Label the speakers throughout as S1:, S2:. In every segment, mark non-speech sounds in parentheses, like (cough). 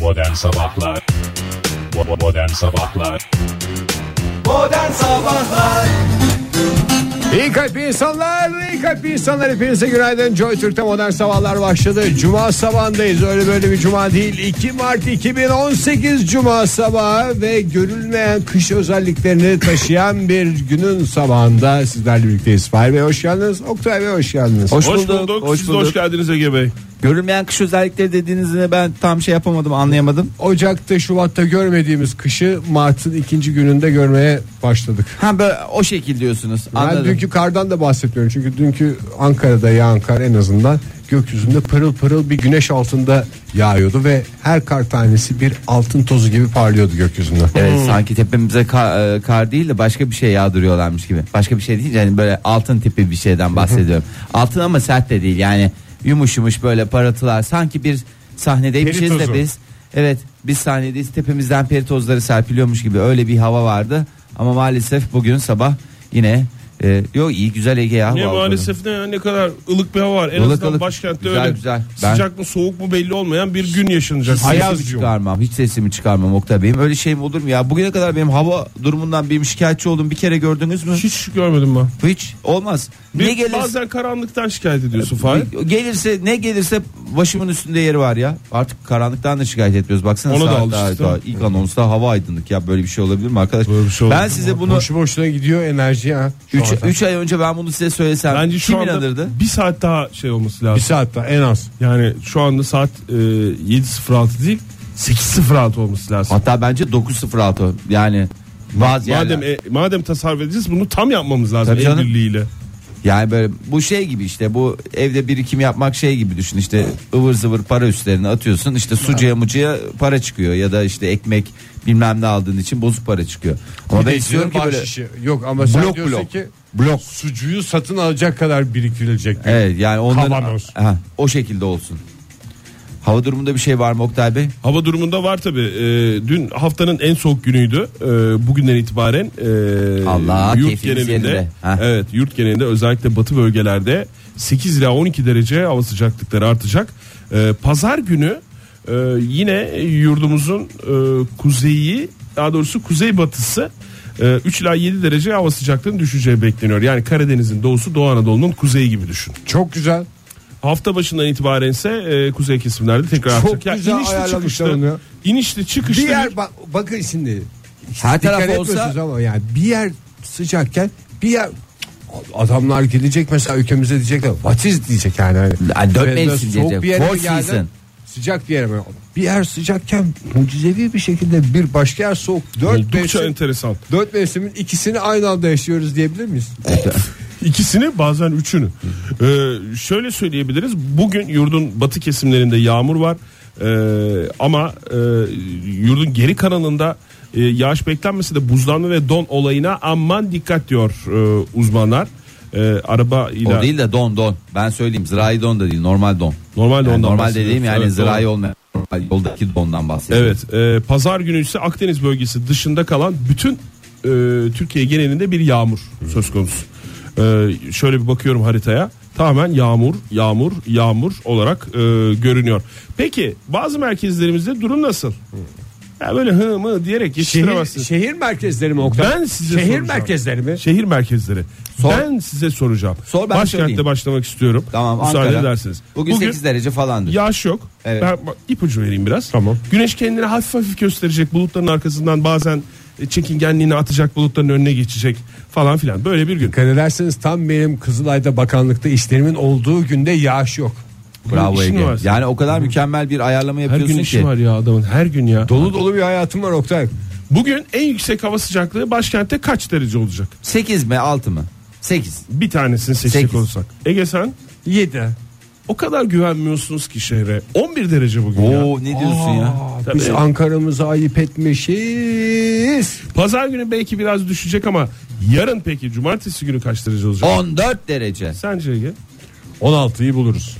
S1: Modern Sabahlar Bo- Modern Sabahlar
S2: Modern Sabahlar
S3: İyi kalp insanlar, iyi kalp insanlar hepinize günaydın. Joy Türk'te modern sabahlar başladı. Cuma sabahındayız. Öyle böyle bir cuma değil. 2 Mart 2018 Cuma sabahı ve görülmeyen kış özelliklerini taşıyan bir günün sabahında sizlerle birlikteyiz. Fahir Bey hoş geldiniz. Oktay Bey hoş geldiniz.
S4: Hoş,
S5: Hoş
S4: bulduk.
S5: bulduk.
S4: Hoş
S5: Siz de
S4: bulduk.
S5: hoş geldiniz Ege Bey.
S4: Görünmeyen kış özellikleri dediğinizde ben tam şey yapamadım, anlayamadım.
S3: Ocak'ta Şubat'ta görmediğimiz kışı Mart'ın ikinci gününde görmeye başladık.
S4: Ha böyle o şekil diyorsunuz.
S3: Ben
S4: Anladım.
S3: dünkü kardan da bahsetmiyorum çünkü dünkü Ankara'da yağan kar en azından gökyüzünde pırıl pırıl bir güneş altında yağıyordu ve her kar tanesi bir altın tozu gibi parlıyordu gökyüzünde.
S4: Evet sanki tepemize kar, e, kar değil de başka bir şey yağdırıyorlarmış gibi. Başka bir şey değil yani böyle altın tipi bir şeyden bahsediyorum. altın ama sert de değil yani yumuş yumuş böyle parıltılar sanki bir sahnedeymişiz
S5: Peri
S4: de
S5: tozu.
S4: biz. Evet biz sahnedeyiz tepemizden peri tozları serpiliyormuş gibi öyle bir hava vardı. Ama maalesef bugün sabah yine e, yok iyi güzel Ege ya.
S5: Niye
S4: hava
S5: maalesef ne, ne kadar ılık bir hava var. En
S4: Ilık
S5: azından
S4: ılık.
S5: başkentte
S4: Güzel
S5: öyle
S4: güzel. Ben-
S5: sıcak mı soğuk mu belli olmayan bir gün yaşanacak.
S4: Hiç sesimi çıkarmam. Hiç sesimi çıkarmam Oktay Bey'im. Öyle şey mi olur mu ya? Bugüne kadar benim hava durumundan benim şikayetçi oldum. Bir kere gördünüz mü? Hiç,
S5: Hiç görmedim ben.
S4: olmaz.
S5: Bir-
S4: ne E, gelirse
S5: Bazen karanlıktan şikayet ediyorsun Fahir.
S4: gelirse ne gelirse başımın üstünde yeri var ya. Artık karanlıktan da şikayet etmiyoruz. Baksana
S5: Ona da
S4: saat
S5: alıştık,
S4: daha,
S5: değil
S4: daha
S5: mi?
S4: ilk anonsta hava aydınlık ya. Böyle bir şey olabilir mi arkadaş?
S5: Böyle bir şey olur
S4: ben
S5: mu?
S4: size bunu
S3: Boşu boşuna gidiyor enerji ha. Şu anda.
S4: 3 ay önce ben bunu size söylesem
S5: Bence şu
S4: kim
S5: anda
S4: inanırdı?
S5: bir saat daha şey olması lazım.
S3: bir saat daha en az.
S5: Yani şu anda saat e, 7.06 değil 8.06 olması lazım.
S4: Hatta bence 9.06 yani bazı yerler.
S5: Madem e, madem tasarruf edeceğiz bunu tam yapmamız lazım
S4: Tabii canım.
S5: el birliğiyle.
S4: Yani böyle bu şey gibi işte bu evde birikim yapmak şey gibi düşün işte ıvır zıvır para üstlerine atıyorsun işte sucuya mucuya para çıkıyor ya da işte ekmek bilmem ne aldığın için bozuk para çıkıyor. Ama ben istiyorum ki böyle
S3: Bahşişi. Yok ama sen
S4: Blok,
S3: diyorsun
S4: blok.
S3: ki blok. sucuğu satın alacak kadar birikilecek.
S4: evet yani onların
S3: Kavanoz.
S4: ha, o şekilde olsun. Hava durumunda bir şey var mı Oktay Bey?
S5: Hava durumunda var tabi. dün haftanın en soğuk günüydü. Ee, bugünden itibaren e,
S4: Allah,
S5: yurt
S4: keyfimiz
S5: genelinde
S4: yerinde. Ha.
S5: evet yurt genelinde özellikle batı bölgelerde 8 ila 12 derece hava sıcaklıkları artacak. Ee, Pazar günü e, yine yurdumuzun e, kuzeyi daha doğrusu kuzey batısı 3 ila 7 derece hava sıcaklığının düşeceği bekleniyor. Yani Karadeniz'in doğusu Doğu Anadolu'nun kuzeyi gibi düşün.
S3: Çok güzel.
S5: Hafta başından itibaren ise e, kuzey kesimlerde tekrar
S3: Çok
S5: artacak.
S3: güzel ayarlamışlar onu ya.
S5: inişli çıkışlı
S3: Bir yer
S5: bir-
S3: bak, bakın şimdi.
S4: Her
S3: Dikkat
S4: taraf
S3: etmiyorsunuz
S4: olsa
S3: ama yani bir yer sıcakken bir yer adamlar gelecek mesela ülkemize diyecekler what is diyecek yani. Hani
S4: Yani dört
S3: Ve
S4: mevsim
S3: soğuk
S4: diyecek,
S3: Bir yere
S4: four
S3: geldin,
S4: season.
S3: Sıcak bir yere mi? Bir yer sıcakken mucizevi bir şekilde bir başka yer soğuk. Dört
S5: oldukça
S3: mevsim,
S5: enteresan.
S3: dört mevsimin ikisini aynı anda yaşıyoruz diyebilir miyiz?
S5: E, İkisini bazen üçünü. Ee, şöyle söyleyebiliriz. Bugün yurdun batı kesimlerinde yağmur var. Ee, ama e, yurdun geri kanalında e, yağış beklenmesi de buzlanma ve don olayına aman dikkat diyor e, uzmanlar. E, araba ile
S4: o değil de don don. Ben söyleyeyim zirai don da değil normal don.
S5: normal
S4: Yani
S5: dondan
S4: normal
S5: bahsediyoruz.
S4: dediğim yani
S5: Evet,
S4: zirai
S5: doğru.
S4: olmayan normal yoldaki dondan bahsediyorum.
S5: Evet, e, pazar günü ise Akdeniz bölgesi dışında kalan bütün e, Türkiye genelinde bir yağmur söz konusu. E, şöyle bir bakıyorum haritaya. Tamamen yağmur, yağmur, yağmur olarak e, görünüyor. Peki bazı merkezlerimizde durum nasıl? Ya böyle hı mı diyerek
S3: Şehir,
S5: yetiştiremezsiniz.
S3: şehir merkezleri mi Oktay?
S5: Ben size
S3: Şehir
S5: soracağım.
S3: merkezleri mi?
S5: Şehir merkezleri.
S4: Sor.
S5: Ben size soracağım.
S4: Sor, ben
S5: Başkentte
S4: söyleyeyim.
S5: başlamak istiyorum.
S4: Tamam
S5: Müsaade
S4: Ankara.
S5: edersiniz.
S4: Bugün, 8 derece falandı.
S5: Yağış yok.
S4: Evet.
S5: Ben bak, ipucu vereyim biraz. Tamam. Güneş kendini hafif hafif gösterecek. Bulutların arkasından bazen e, çekingenliğini atacak. Bulutların önüne geçecek falan filan. Böyle bir gün.
S3: Dikkat ederseniz tam benim Kızılay'da bakanlıkta işlerimin olduğu günde yağış yok.
S4: Bravo
S5: işin
S4: Ege.
S5: var.
S4: Yani o kadar mükemmel bir ayarlama
S5: Her gün
S4: yapıyorsun
S5: işi
S4: ki.
S5: var ya adamın. Her gün ya.
S3: Dolu dolu bir hayatım var Oktay.
S5: Bugün en yüksek hava sıcaklığı başkentte kaç derece olacak?
S4: 8 mi 6 mı? 8.
S5: Bir tanesini seçecek
S4: Sekiz.
S5: olsak. Ege sen
S3: 7.
S5: o kadar güvenmiyorsunuz ki şehre. 11 derece bugün ya.
S4: Oo ne diyorsun ya?
S5: Tabii.
S3: Biz Ankara'mızı ayıp etmişiz.
S5: Pazar günü belki biraz düşecek ama yarın peki cumartesi günü kaç derece olacak?
S4: 14 derece.
S5: Sence Ege?
S3: 16'yı buluruz.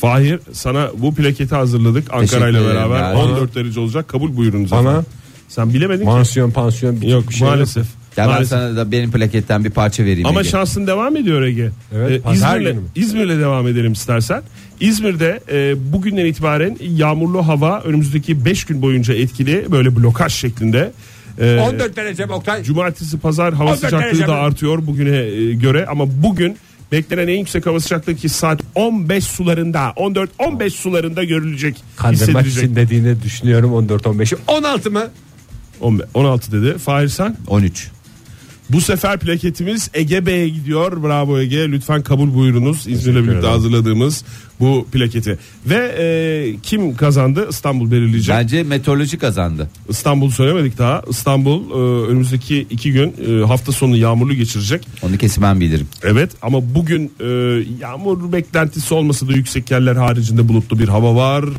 S5: Fahir sana bu plaketi hazırladık Ankara ile
S4: ederim
S5: beraber.
S4: ya.
S5: 14 derece olacak kabul buyurunuz.
S3: Bana-
S5: efendim. sen bilemedin ki.
S3: Mansiyon pansiyon bir
S5: Yok
S3: bir şey
S5: maalesef.
S4: Ya ben
S5: Maalesef.
S4: sana da benim plaketten bir parça vereyim.
S5: Ama
S4: Ege.
S5: şansın devam ediyor Ege.
S3: Evet,
S5: Ee,
S3: pazar
S5: İzmir'le,
S3: günü mü?
S5: İzmir'le devam edelim istersen. İzmir'de e, bugünden itibaren yağmurlu hava önümüzdeki 5 gün boyunca etkili böyle blokaj şeklinde. E,
S3: 14 derece mi Oktay.
S5: Cumartesi pazar hava
S3: 14 derece
S5: sıcaklığı
S3: mi?
S5: da artıyor bugüne e, göre ama bugün beklenen en yüksek hava sıcaklığı ki saat 15 sularında 14-15 sularında görülecek
S3: Kandırmak
S5: hissedilecek.
S3: için dediğini düşünüyorum 14-15'i. 16 mı?
S5: 15 16 dedi. Fahir sen?
S4: 13.
S5: Bu sefer plaketimiz Ege Bey'e gidiyor. Bravo Ege. Lütfen kabul buyurunuz. İzmir'le birlikte hazırladığımız bu plaketi. Ve e, kim kazandı? İstanbul belirleyecek.
S4: Bence meteoroloji kazandı.
S5: İstanbul söylemedik daha. İstanbul e, önümüzdeki iki gün e, hafta sonu yağmurlu geçirecek.
S4: Onu kesin ben bilirim.
S5: Evet ama bugün e, yağmur beklentisi olmasa da yüksek yerler haricinde bulutlu bir hava var. E,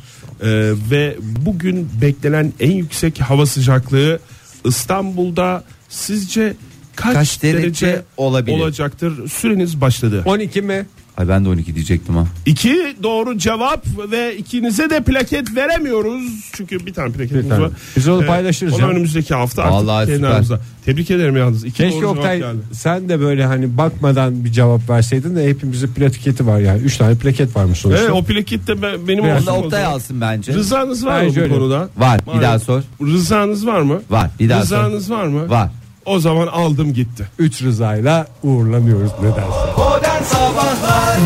S5: ve bugün beklenen en yüksek hava sıcaklığı İstanbul'da sizce kaç,
S4: Kaç derece
S5: derece,
S4: olabilir?
S5: olacaktır? Süreniz başladı.
S3: 12 mi?
S4: Ay ben de 12 diyecektim ha.
S5: İki doğru cevap ve ikinize de plaket veremiyoruz. Çünkü bir tane plaketimiz
S3: tane.
S5: var.
S3: Biz onu paylaşırız
S5: Onu
S3: ya.
S5: önümüzdeki hafta
S4: Vallahi
S5: artık kendi
S4: süper.
S5: aramızda. Tebrik ederim yalnız. İki
S3: Keşke
S5: doğru cevap
S3: Oktay
S5: geldi.
S3: sen de böyle hani bakmadan bir cevap verseydin de hepimizin plaketi var yani. 3 tane plaket varmış sonuçta.
S5: Evet, o plaket de be- benim
S3: Biraz
S5: olsun.
S4: Onu
S5: o
S4: Oktay
S5: zaman.
S4: alsın bence.
S5: Rızanız var mı
S3: Bence
S5: bu
S3: öyle.
S5: konuda?
S4: Var bir
S5: Maalesef.
S4: daha sor.
S5: Rızanız var mı?
S4: Var bir daha sor.
S5: Rızanız var mı?
S4: Var.
S5: O zaman aldım gitti.
S3: 3 rızayla uğurlamıyoruz nedense.
S2: Modern Sabahlar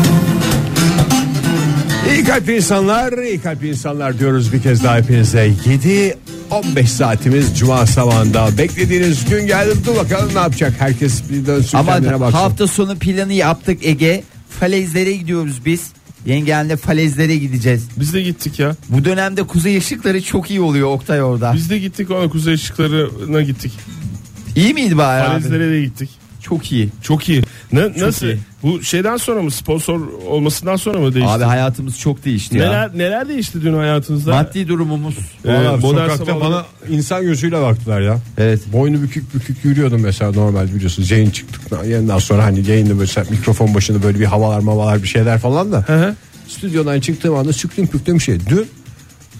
S3: İyi kalp insanlar, iyi kalp insanlar diyoruz bir kez daha hepinize. 7 15 saatimiz cuma sabahında. Beklediğiniz gün geldi. Dur bakalım ne yapacak? Herkes bir dönsün kendine
S4: Ama
S3: baksın.
S4: hafta sonu planı yaptık Ege. Falezlere gidiyoruz biz. Yengenle falezlere gideceğiz.
S5: Biz de gittik ya.
S4: Bu dönemde kuzey ışıkları çok iyi oluyor Oktay orada.
S5: Biz de gittik ona kuzey ışıklarına gittik.
S4: İyi miydi bari abi?
S5: Falezlere de gittik.
S4: Çok iyi.
S5: Çok iyi. Ne, nasıl?
S4: iyi.
S5: Bu şeyden sonra mı sponsor olmasından sonra mı değişti?
S4: Abi hayatımız çok değişti ya.
S5: neler neler değişti dün hayatınızda?
S4: Maddi durumumuz.
S5: Ee,
S3: Vallahi
S5: modern
S3: sokakta
S5: sabahları-
S3: bana insan gözüyle baktılar ya.
S4: Evet.
S3: Boynu bükük bükük yürüyordum mesela normal biliyorsunuz yayın çıktıktan yayından sonra hani yayında böyle sen mikrofon başında böyle bir havalar mavalar bir şeyler falan da.
S5: hı.
S3: Stüdyodan çıktığım anda süklüm püklüm şey. Dün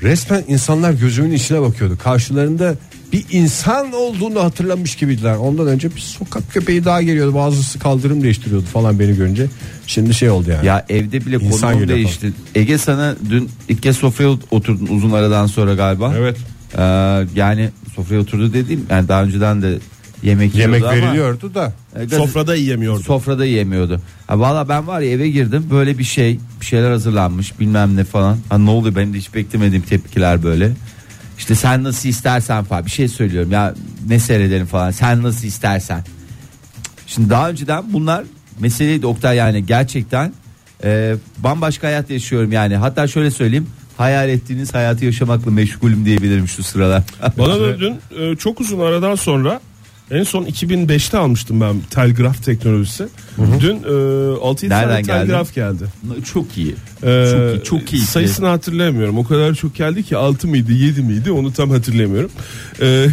S3: resmen insanlar gözümün içine bakıyordu. Karşılarında bir insan olduğunu hatırlamış gibiydiler. Ondan önce bir sokak köpeği daha geliyordu. Bazısı kaldırım değiştiriyordu falan beni görünce. Şimdi şey oldu yani.
S4: Ya evde bile
S3: İnsan
S4: konum
S3: yürüyor falan.
S4: değişti. Ege sana dün ilk kez sofraya ot- oturdun uzun aradan sonra galiba.
S3: Evet.
S4: Ee, yani sofraya oturdu dediğim yani daha önceden de yemek
S3: Yemek
S4: yiyordu ama-
S3: veriliyordu da.
S4: E, gazete-
S5: Sofrada yiyemiyordu.
S4: Sofrada yemiyordu. Ha, Valla ben var ya eve girdim böyle bir şey bir şeyler hazırlanmış bilmem ne falan. Ha, ne oluyor benim de hiç beklemediğim tepkiler böyle. İşte sen nasıl istersen falan bir şey söylüyorum ya ne seyredelim falan sen nasıl istersen. Cık. Şimdi daha önceden bunlar meseleydi Oktay yani gerçekten e, bambaşka hayat yaşıyorum yani. Hatta şöyle söyleyeyim hayal ettiğiniz hayatı yaşamakla meşgulüm diyebilirim şu sıralar. (laughs)
S5: Bana da dün e, çok uzun aradan sonra en son 2005'te almıştım ben telgraf teknolojisi. Dün e, 6-7
S4: Nereden
S5: tane
S4: geldi?
S5: telgraf geldi.
S4: çok iyi.
S5: E,
S4: çok iyi. Çok iyi.
S5: Sayısını hatırlayamıyorum. O kadar çok geldi ki 6 mıydı 7 miydi onu tam hatırlayamıyorum. E,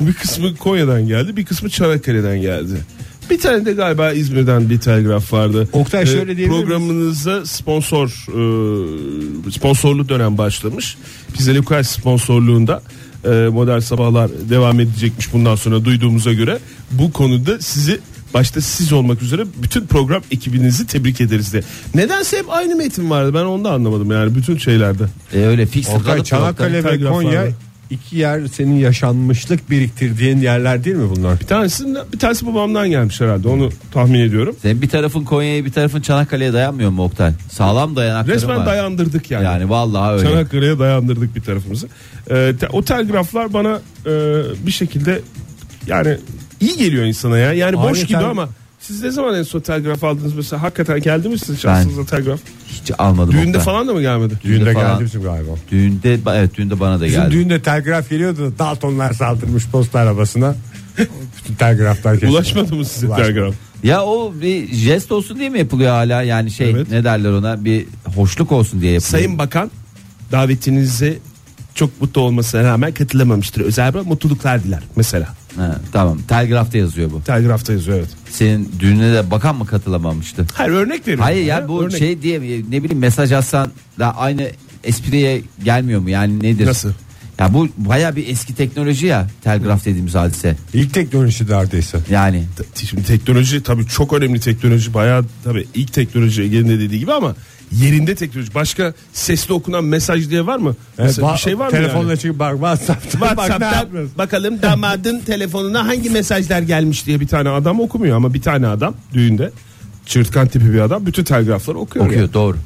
S5: (laughs) bir kısmı Konya'dan geldi bir kısmı Çanakkale'den geldi. Bir tane de galiba İzmir'den bir telgraf vardı. Ee,
S3: Oktay şöyle diyebilir miyiz?
S5: Programınıza sponsor e, sponsorlu dönem başlamış. Pizza Lucas sponsorluğunda e, modern sabahlar devam edecekmiş bundan sonra duyduğumuza göre. Bu konuda sizi başta siz olmak üzere bütün program ekibinizi tebrik ederiz diye. Nedense hep aynı metin vardı ben onu da anlamadım yani bütün şeylerde.
S4: E, öyle fix
S3: Oktay
S4: kalıp
S3: Çanakkale ve
S5: telgraflarla.
S3: Konya iki yer senin yaşanmışlık biriktirdiğin yerler değil mi bunlar?
S5: Bir tanesinde bir tanesi babamdan gelmiş herhalde onu tahmin ediyorum.
S4: Senin bir tarafın Konya'ya bir tarafın Çanakkale'ye dayanmıyor mu Oktay? Sağlam dayanakların var.
S5: Resmen dayandırdık yani.
S4: Yani vallahi öyle.
S5: Çanakkale'ye dayandırdık bir tarafımızı. Ee, te- o telgraflar bana e, bir şekilde yani iyi geliyor insana ya. Yani boş
S3: Aynı
S5: gibi
S3: tel-
S5: ama siz ne zaman en son telgraf aldınız mesela? Hakikaten geldi mi sizin şansınıza telgraf?
S4: Hiç almadım
S5: Düğünde
S4: Oktay.
S5: falan da mı gelmedi?
S3: Düğünde
S4: falan.
S3: geldi bizim galiba.
S4: Düğünde evet düğünde bana da
S3: Bizim
S4: geldi.
S3: düğünde telgraf geliyordu da Daltonlar saldırmış
S4: (laughs)
S3: posta arabasına. Bütün telgraflar kesildi.
S5: Ulaşmadı mı size
S3: Ulaşmadı.
S5: telgraf?
S4: Ya o bir jest olsun diye mi yapılıyor hala? Yani şey
S5: Evet.
S4: ne derler ona bir hoşluk olsun diye yapılıyor.
S5: Sayın Bakan davetinizi çok mutlu olmasına rağmen katılamamıştır. Özel mutluluklar diler mesela.
S4: Ha, tamam telgrafta yazıyor bu.
S5: Telgrafta yazıyor evet.
S4: Senin düğününe de bakan mı katılamamıştı?
S5: Hayır örnek veriyorum.
S4: Hayır ya bu
S5: Örnek.
S4: şey diye ne bileyim mesaj atsan da aynı espriye gelmiyor mu? Yani nedir?
S5: Nasıl?
S4: Ya bu baya bir eski teknoloji ya telgraf dediğimiz hadise.
S3: İlk teknoloji neredeyse.
S4: Yani
S5: Te- Şimdi teknoloji tabii çok önemli teknoloji bayağı tabii ilk teknoloji Ege'nin de dediği gibi ama yerinde teknoloji. Başka sesli okunan mesaj diye var mı? Mesela bir şey var mı?
S3: Telefonla
S5: yani?
S3: çıkıp bak (laughs) WhatsApp'tan bak ne yapıyorsun? (laughs)
S5: bakalım damadın telefonuna hangi mesajlar gelmiş diye bir tane adam okumuyor ama bir tane adam düğünde çırtkan tipi bir adam bütün telgrafları okuyor.
S4: Okuyor
S5: yani.
S4: doğru.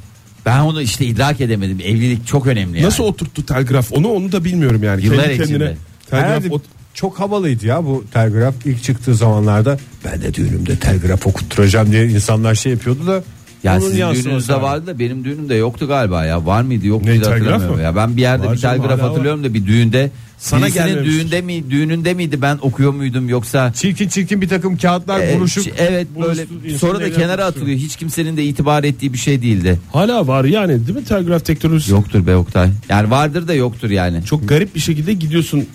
S4: Ben onu işte idrak edemedim. Evlilik çok önemli yani.
S5: Nasıl oturttu telgraf onu onu da bilmiyorum yani.
S4: Yıllar
S5: Kendi kendine
S4: içinde.
S5: telgraf
S3: Herhalde
S5: ot-
S3: çok havalıydı ya bu telgraf ilk çıktığı zamanlarda ben de düğünümde telgraf okutturacağım diye insanlar şey yapıyordu da
S4: Ya
S3: onun
S4: sizin
S3: yansıması
S4: düğününüzde
S3: yani.
S4: vardı da benim düğünümde yoktu galiba ya. Var mıydı yok
S5: Ne,
S4: muydu
S5: telgraf
S4: hatırlamıyorum.
S5: mı?
S4: Ya ben bir yerde
S5: Var
S4: bir
S5: canım,
S4: telgraf
S5: hala
S4: hatırlıyorum da bir düğünde.
S5: Sana
S4: Sana Birisinin
S5: gelmemiş.
S4: düğünde mi düğününde miydi ben okuyor muydum yoksa
S3: Çirkin çirkin bir takım kağıtlar
S4: E,
S3: buluşup
S4: ç- evet böyle
S5: buluştu, insan
S4: sonra da
S5: evlenmek
S4: kenara
S5: istiyor.
S4: atılıyor. Hiç kimsenin de itibar ettiği bir şey değildi.
S5: hala var yani değil mi telgraf teknolojisi?
S4: Yoktur be Oktay. Yani vardır da yoktur yani.
S5: Çok garip bir şekilde gidiyorsun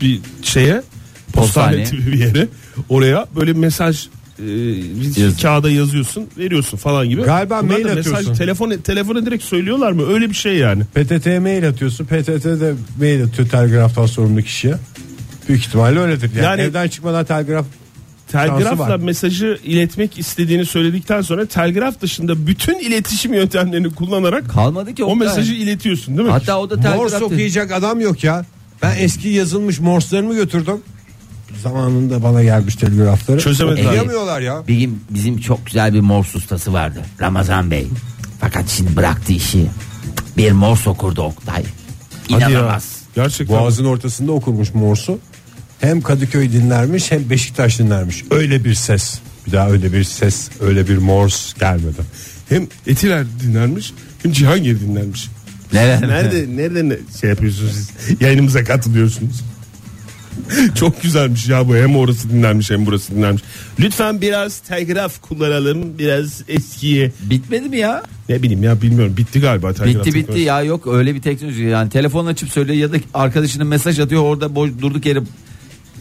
S5: bir şeye postane
S4: Postane.
S5: tipi bir yere oraya böyle mesaj e, bir
S4: Yaz-
S5: kağıda yazıyorsun veriyorsun falan gibi.
S3: Galiba
S5: Bunlar
S3: mail
S5: da
S3: atıyorsun.
S5: telefon, telefona direkt söylüyorlar mı öyle bir şey yani.
S3: PTT'ye mail atıyorsun PTT'de mail atıyor telgraftan sorumlu kişiye büyük ihtimalle öyledir yani,
S5: Yani-
S3: evden çıkmadan telgraf Şansı
S5: Telgrafla
S3: var.
S5: mesajı iletmek istediğini söyledikten sonra telgraf dışında bütün iletişim yöntemlerini kullanarak
S4: Kalmadı ki
S5: o
S4: Oktay.
S5: mesajı iletiyorsun değil mi?
S4: Hatta o da
S3: Morse
S4: telgraf.
S3: okuyacak adam yok ya ben eski yazılmış morse'larımı götürdüm zamanında bana gelmiş telgrafları
S5: Çözemediler.
S3: okuyamıyorlar ya
S4: Bizim, bizim çok güzel bir mors ustası vardı. Ramazan Bey. Fakat şimdi bıraktı işi. Bir mors okurdu Oktay.
S5: Hadi ya.
S4: İnanamaz.
S5: Gerçekten.
S3: Boğazın ortasında okurmuş Morsu. Hem Kadıköy dinlermiş hem Beşiktaş dinlermiş. Öyle bir ses. Bir daha öyle bir ses, öyle bir Mors gelmedi.
S5: Hem Etiler dinlenmiş hem Cihangir dinlenmiş.
S4: (laughs) Nerede?
S5: Nerede nerede ne- şey yapıyorsunuz siz? Yayınımıza katılıyorsunuz. (laughs) Çok güzelmiş ya bu. Hem orası dinlenmiş hem burası dinlenmiş. Lütfen biraz telgraf kullanalım. Biraz eskiye.
S4: Bitmedi mi ya?
S5: Ne bileyim ya bilmiyorum. Bitti galiba telgraf.
S4: Bitti bitti
S5: teknolojisi.
S4: ya yok öyle bir teknoloji yani telefon açıp söylüyor ya da arkadaşının mesaj atıyor orada boş durduk yere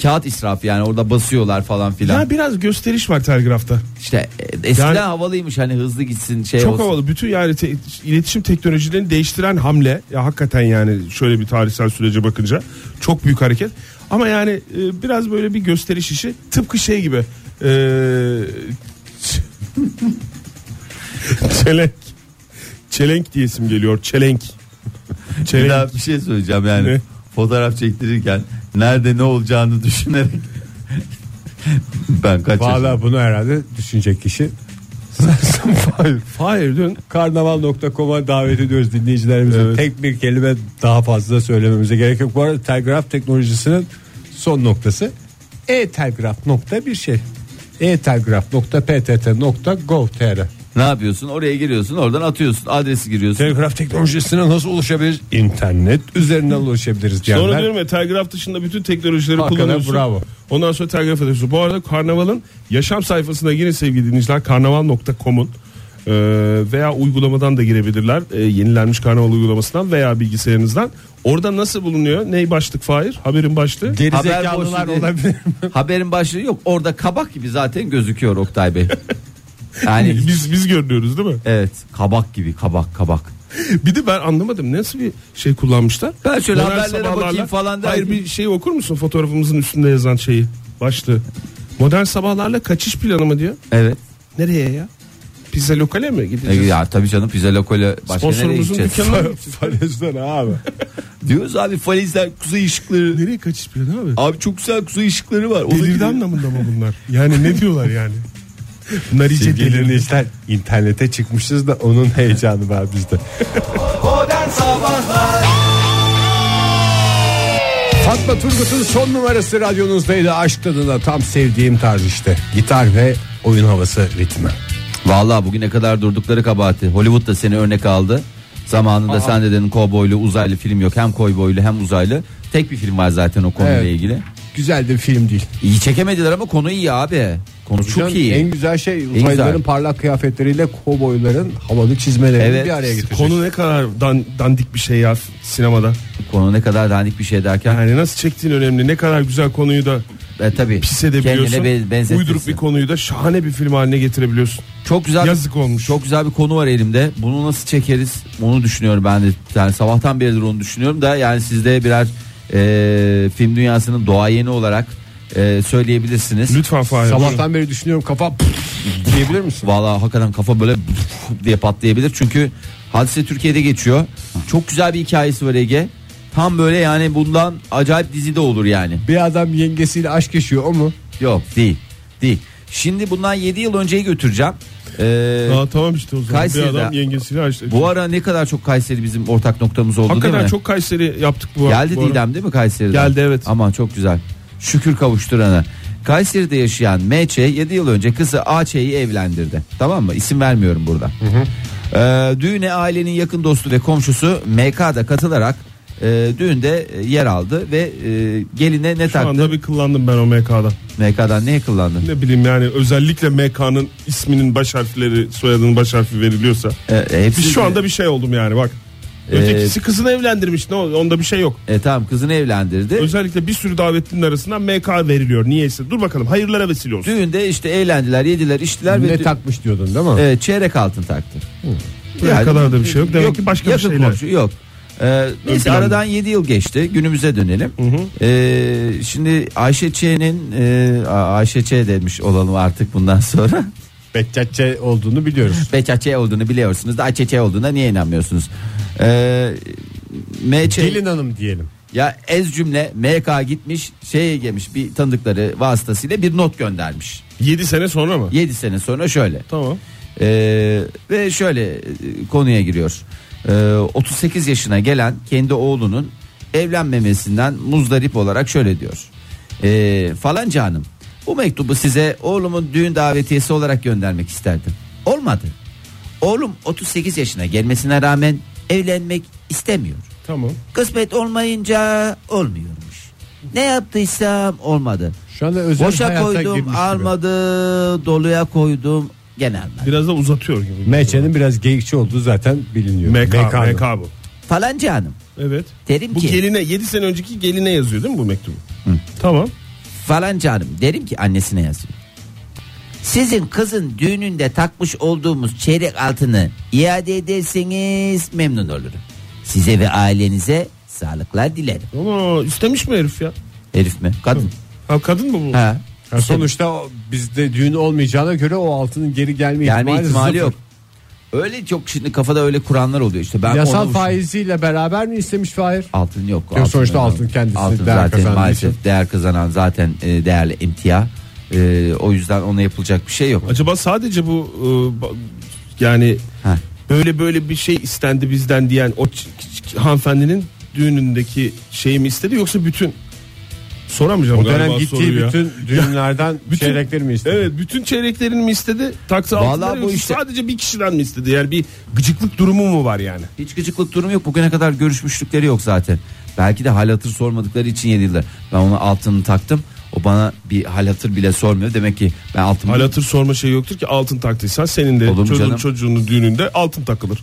S4: kağıt israfı yani orada basıyorlar falan filan.
S5: Ya biraz gösteriş var telgrafta.
S4: işte e, eskiden
S5: Yani-
S4: havalıymış hani hızlı gitsin şey
S5: Çok
S4: olsun.
S5: havalı. Bütün yani te- iletişim teknolojilerini değiştiren hamle. Ya hakikaten yani şöyle bir tarihsel sürece bakınca çok büyük hareket. Ama yani e, biraz böyle bir gösteriş işi. Tıpkı şey gibi. E, (laughs) ç- çelenk. Çelenk diye isim geliyor. Çelenk.
S4: Bir
S5: Çelenk.
S4: daha bir şey söyleyeceğim yani.
S5: Ne?
S4: Fotoğraf çektirirken nerede ne olacağını düşünerek (laughs) ben kaç yaşındayım?
S3: Valla bunu herhalde düşünecek kişi.
S5: Hayır dün
S3: Karnaval.com'a davet ediyoruz dinleyicilerimize.
S5: Evet.
S3: Tek bir kelime daha fazla söylememize gerek yok. Bu arada telgraf teknolojisinin son noktası e-telgraf nokta bir şey. e-telgraf.ptt.gov.tr
S4: Ne yapıyorsun? Oraya giriyorsun, oradan atıyorsun, adresi giriyorsun.
S3: Telgraf teknolojisine nasıl ulaşabiliriz? İnternet üzerinden ulaşabiliriz diyenler.
S5: Sonra diyorum ya telgraf dışında bütün teknolojileri
S3: Hakikaten
S5: kullanıyorsun.
S3: bravo.
S5: Ondan sonra telgraf ediyorsun. Bu arada Karnaval'ın yaşam sayfasına girin sevgili dinleyiciler. Karnaval.com'un e, veya uygulamadan da girebilirler. E, yenilenmiş Karnaval uygulamasından veya bilgisayarınızdan. Orada nasıl bulunuyor? Ney başlık Fahir? Haberin başlığı.
S3: Gerizekalılar
S4: Haber boşluğu-
S3: olabilir (laughs) mi?
S4: (laughs) Haberin başlığı yok. Orada kabak gibi zaten gözüküyor Oktay Bey.
S3: (laughs)
S4: Yani
S5: (laughs) biz biz görünüyoruz değil mi?
S4: evet, kabak gibi, kabak kabak.
S5: Bir de ben anlamadım nasıl bir şey kullanmışlar.
S4: Ben şöyle
S5: Modern
S4: haberlere
S5: sabahlarla-
S4: bakayım falan derken-
S5: Hayır bir şey okur musun fotoğrafımızın üstünde yazan şeyi başlığı. Modern sabahlarla kaçış planı mı diyor?
S4: Evet.
S5: Nereye ya? Pizza lokale mi
S4: E,
S5: gideceğiz?
S4: ya tabii canım pizza lokale başka nereye
S5: Sponsorumuzun
S4: gideceğiz?
S5: dükkanına mı
S3: Falezden abi.
S4: (laughs) Diyoruz abi falizler kuzey ışıkları.
S5: (laughs) Nereye kaçış planı abi?
S4: Abi çok güzel kuzey ışıkları var. Ona
S5: Delirdi
S4: gidelim.
S5: anlamında mı bunlar? Yani ne diyorlar yani? (laughs) Bunlar iyice
S3: Sevgili
S5: delirdi.
S3: dinleyiciler internete çıkmışız da onun heyecanı var bizde.
S2: Modern Sabahlar
S3: Fatma Turgut'un son numarası radyonuzdaydı. Aşk tadına tam sevdiğim tarz işte. Gitar ve oyun havası ritmi.
S4: Vallahi bugüne kadar durdukları kabahati. Hollywood da seni örnek aldı. Zamanında sen de dedin kovboylu uzaylı film yok. Hem kovboylu hem uzaylı. Tek bir film var zaten o konuyla
S3: Evet.
S4: ilgili.
S3: Güzel de bir film değil.
S4: İyi çekemediler ama konu iyi abi. Konu çok
S3: Canım,
S4: iyi.
S3: En güzel şey uzaylıların
S4: güzel.
S3: parlak kıyafetleriyle kovboyların havalı çizmelerini
S4: Evet.
S3: bir araya getirecek.
S5: Konu ne kadar dan- dandik bir şey ya sinemada.
S4: Konu ne kadar dandik bir şey derken.
S5: Yani nasıl çektiğin önemli. Ne kadar güzel konuyu da
S4: E, tabii.
S5: pis edebiliyorsun.
S4: Kendine be- benzetirsin.
S5: Uyduruk bir konuyu da şahane bir film haline getirebiliyorsun.
S4: Çok güzel.
S5: Yazık olmuş.
S4: Çok güzel bir konu var elimde. Bunu nasıl çekeriz? Onu düşünüyorum ben de. Yani sabahtan beridir onu düşünüyorum da yani siz de birer e, film dünyasının doğayeni olarak e, söyleyebilirsiniz.
S5: Lütfen Fahir.
S3: Sabahtan beri düşünüyorum kafa pff, diyebilir misin?
S4: Valla hakikaten kafa böyle (laughs) diye patlayabilir. Çünkü hadise Türkiye'de geçiyor. Çok güzel bir hikayesi var Ege. Tam böyle yani bundan acayip dizide olur yani.
S3: Bir adam yengesiyle aşk yaşıyor o mu?
S4: Yok değil. Değil. Şimdi bundan 7 yıl önceyi götüreceğim. Ee,
S5: Aa, tamam işte o zaman
S4: Kayseri'de-
S5: bir adam yengesiyle açtı.
S4: bu ara ne kadar çok Kayseri bizim ortak noktamız oldu değil
S5: Hakikaten
S4: mi?
S5: çok Kayseri yaptık bu ara-
S4: Geldi
S5: bu ara.
S4: Didem değil mi Kayseri'den?
S5: Geldi, evet.
S4: Aman çok güzel. Şükür kavuşturana. Kayseri'de yaşayan M.Ç. 7 yıl önce kızı A.Ç.'yi evlendirdi. Tamam mı? İsim vermiyorum burada. Ee, düğüne ailenin yakın dostu ve komşusu M.K.'da katılarak e, düğünde e, yer aldı ve e, geline ne
S5: Şu
S4: taktı?
S5: anda bir kullandım ben o MK'dan.
S4: M.K.'dan ne kullandı?
S5: Ne bileyim yani özellikle MK'nın isminin baş harfleri soyadının baş harfi veriliyorsa.
S4: Ee, hepsi-
S5: Biz şu anda bir şey oldum yani bak. Ötekisi kızını evlendirmiş ne oldu onda bir şey yok.
S4: E, tamam kızını evlendirdi.
S5: Özellikle bir sürü davetlinin arasından MK veriliyor niyeyse. Dur bakalım hayırlara vesile olsun.
S4: Düğünde işte eğlendiler, yediler, içtiler ve
S3: Ne
S4: dü-
S3: takmış diyordun değil mi?
S4: e, çeyrek altın taktı.
S5: Ne kadar da bir şey yok. Demek ki başka bir
S4: yakın
S5: şeyler.
S4: komşu, yok. Ee, neyse
S5: planda.
S4: aradan 7 yıl geçti. Günümüze dönelim. Ee, şimdi Ayşe Ç'nin e, A- Ayşe Ç demiş olalım artık bundan sonra. (laughs)
S3: Bekçatçı olduğunu biliyoruz.
S4: Beça Ç olduğunu biliyorsunuz da Ayşe Ç olduğuna niye inanmıyorsunuz? Ee, MÇ
S3: Gelin hanım diyelim.
S4: ya ez cümle MK gitmiş şeye gelmiş bir tanıdıkları vasıtasıyla bir not göndermiş.
S5: 7 sene sonra mı?
S4: 7 sene sonra şöyle.
S5: Tamam.
S4: Ee, ve şöyle e, konuya giriyor. Ee, 38 yaşına gelen kendi oğlunun evlenmemesinden muzdarip olarak şöyle diyor. Ee, falanca hanım bu mektubu size oğlumun düğün davetiyesi olarak göndermek isterdim. Olmadı. Oğlum 38 yaşına gelmesine rağmen evlenmek istemiyor.
S5: Tamam.
S4: Kısmet olmayınca olmuyormuş. Ne yaptıysam olmadı.
S3: Şu anda özel
S4: Boşa
S3: hayata
S4: koydum
S3: girmiş
S4: almadı, doluya koydum gene almadı.
S5: Biraz da uzatıyor gibi.
S3: gibi. Meçenin biraz geyikçi olduğu zaten biliniyor.
S5: MK,
S3: Mekanı.
S5: MK bu.
S4: Falanca hanım.
S5: Evet.
S4: Derim
S5: bu
S4: ki-
S5: geline 7 sene önceki geline yazıyor değil mi bu mektubu? Tamam.
S4: Falanca hanım. Derim ki annesine yazıyor. Sizin kızın düğününde takmış olduğumuz çeyrek altını iade ederseniz memnun olurum. Size ve ailenize sağlıklar dilerim.
S5: Ama istemiş mi herif ya?
S4: Herif mi? Kadın.
S5: Ha kadın mı bu?
S4: Ha.
S3: Ya sonuçta o- bizde düğün olmayacağına göre o altının geri gelme,
S4: Gelme ihtimali
S3: sıfır.
S4: yok. Öyle çok şimdi kafada öyle kuranlar oluyor işte. Ben
S3: Yasal
S4: onu-
S3: faiziyle beraber mi istemiş Fahir?
S4: Altın yok.
S3: Yok, sonuçta altın kendisi
S4: altın
S3: değer
S4: zaten
S3: kazandığı
S4: maalesef
S3: için.
S4: değer kazanan zaten e, değerli emtia. E, o yüzden ona yapılacak bir şey yok.
S5: Acaba sadece bu e, ba- yani
S4: Ha.
S5: böyle böyle bir şey istendi bizden diyen o ç- ç- hanımefendinin düğünündeki şeyi mi istedi yoksa bütün? Soramayacağım
S3: O dönem
S5: galiba
S3: gittiği
S5: soruyu
S3: (laughs)
S5: ya.
S3: bütün düğünlerden
S5: bütün-
S3: çeyrekleri mi istedi?
S5: Evet bütün çeyreklerini mi istedi? Taksa
S4: Vallahi
S5: altınları
S4: bu
S5: yoksa
S4: işte-
S5: sadece bir kişiden mi istedi? Yani bir gıcıklık durumu mu var yani?
S4: Hiç gıcıklık durumu yok. Bugüne kadar görüşmüşlükleri yok zaten. Belki de hal hatır sormadıkları için yediler. Ben ona altını taktım. O bana bir hal hatır bile sormuyor. Demek ki ben altımı...
S5: Hal hatır sorma şey yoktur ki altın taktıysan senin de
S4: Olur mu
S5: çocuğun
S4: canım?
S5: çocuğunun düğününde altın takılır.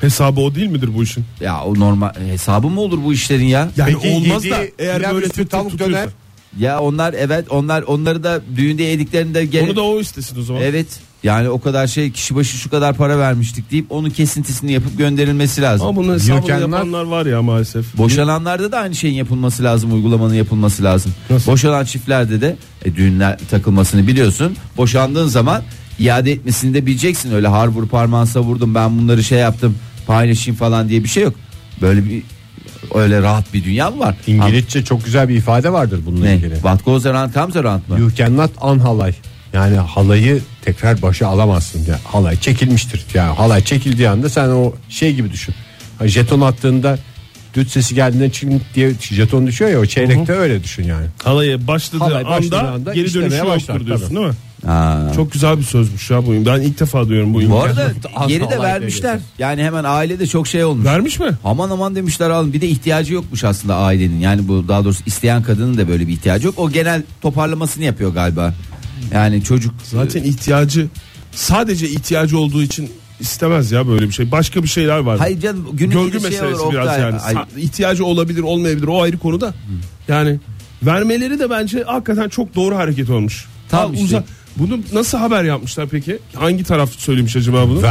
S5: Hesabı o değil midir bu işin?
S4: Ya o normal hesabı mı olur bu işlerin ya? Ya,
S5: Yani
S3: Peki
S5: olmaz da
S3: yediği
S5: eğer
S3: pilav
S5: böyle
S3: üstü
S5: tık
S3: tavuk
S5: tavuk döner.
S3: döner-
S4: onlar evet onlar onları da düğünde yediklerinde gelip...
S5: Onu da o istesin o zaman.
S4: Evet yani o kadar şey kişi başı şu kadar para vermiştik deyip onun kesintisini yapıp gönderilmesi lazım.
S5: Ama bunun hesabını
S3: Yokenler-
S5: yapanlar var ya maalesef.
S4: Boşananlarda da aynı şeyin yapılması lazım, uygulamanın yapılması lazım.
S5: Nasıl?
S4: Boşanan çiftlerde de e, düğünler takılmasını biliyorsun. Boşandığın zaman iade etmesini de bileceksin. Öyle har vur parmağın savurdum ben bunları şey yaptım paylaşayım falan diye bir şey yok. Böyle bir öyle rahat bir dünya mı var?
S3: İngilizce çok güzel bir ifade vardır
S4: Ha,
S3: bununla
S4: ne?
S3: ilgili.
S4: What goes around comes around mı?
S3: You cannot an halay. Yani halayı tekrar başa alamazsın. Yani halay çekilmiştir. Yani halay çekildiği anda sen o şey gibi düşün. Hani Jeton attığında düt sesi geldiğinde çing diye jeton düşüyor ya o çeyrekte öyle düşün yani.
S5: Halaya başladığı
S3: Halay başladığı
S5: anda,
S3: anda
S5: geri
S3: işlemeye
S5: dönüşü
S3: başlar,
S5: yoktur diyorsun
S3: tabii.
S5: değil mi?
S4: Ha.
S5: Çok güzel bir sözmüş ya bu. Ben ilk defa duyuyorum bu
S4: Bu
S5: imkanı.
S4: arada
S3: Az
S4: yeri de
S3: halay
S4: vermişler.
S3: diye
S4: Yani hemen ailede çok şey olmuş.
S5: Vermiş mi?
S4: Aman aman demişler alın. Bir de ihtiyacı yokmuş aslında ailenin. Yani bu daha doğrusu isteyen kadının da böyle bir ihtiyacı yok. O genel toparlamasını yapıyor galiba. Yani çocuk
S5: Zaten
S4: Ee,
S5: ihtiyacı sadece ihtiyacı olduğu için istemez ya böyle bir şey. Başka bir şeyler var.
S4: Hayır canım, günün
S5: Görgü
S4: bir şey
S5: meselesi
S4: olur,
S5: biraz
S4: Oktay.
S5: yani.
S4: Ay-
S5: Sa- İhtiyacı olabilir olmayabilir o ayrı konuda. Yani vermeleri de bence hakikaten çok doğru hareket olmuş.
S4: Tam
S5: Al
S4: işte.
S5: uza- Bunu nasıl haber yapmışlar peki? Hangi taraf söylemiş acaba bunu?
S3: Ve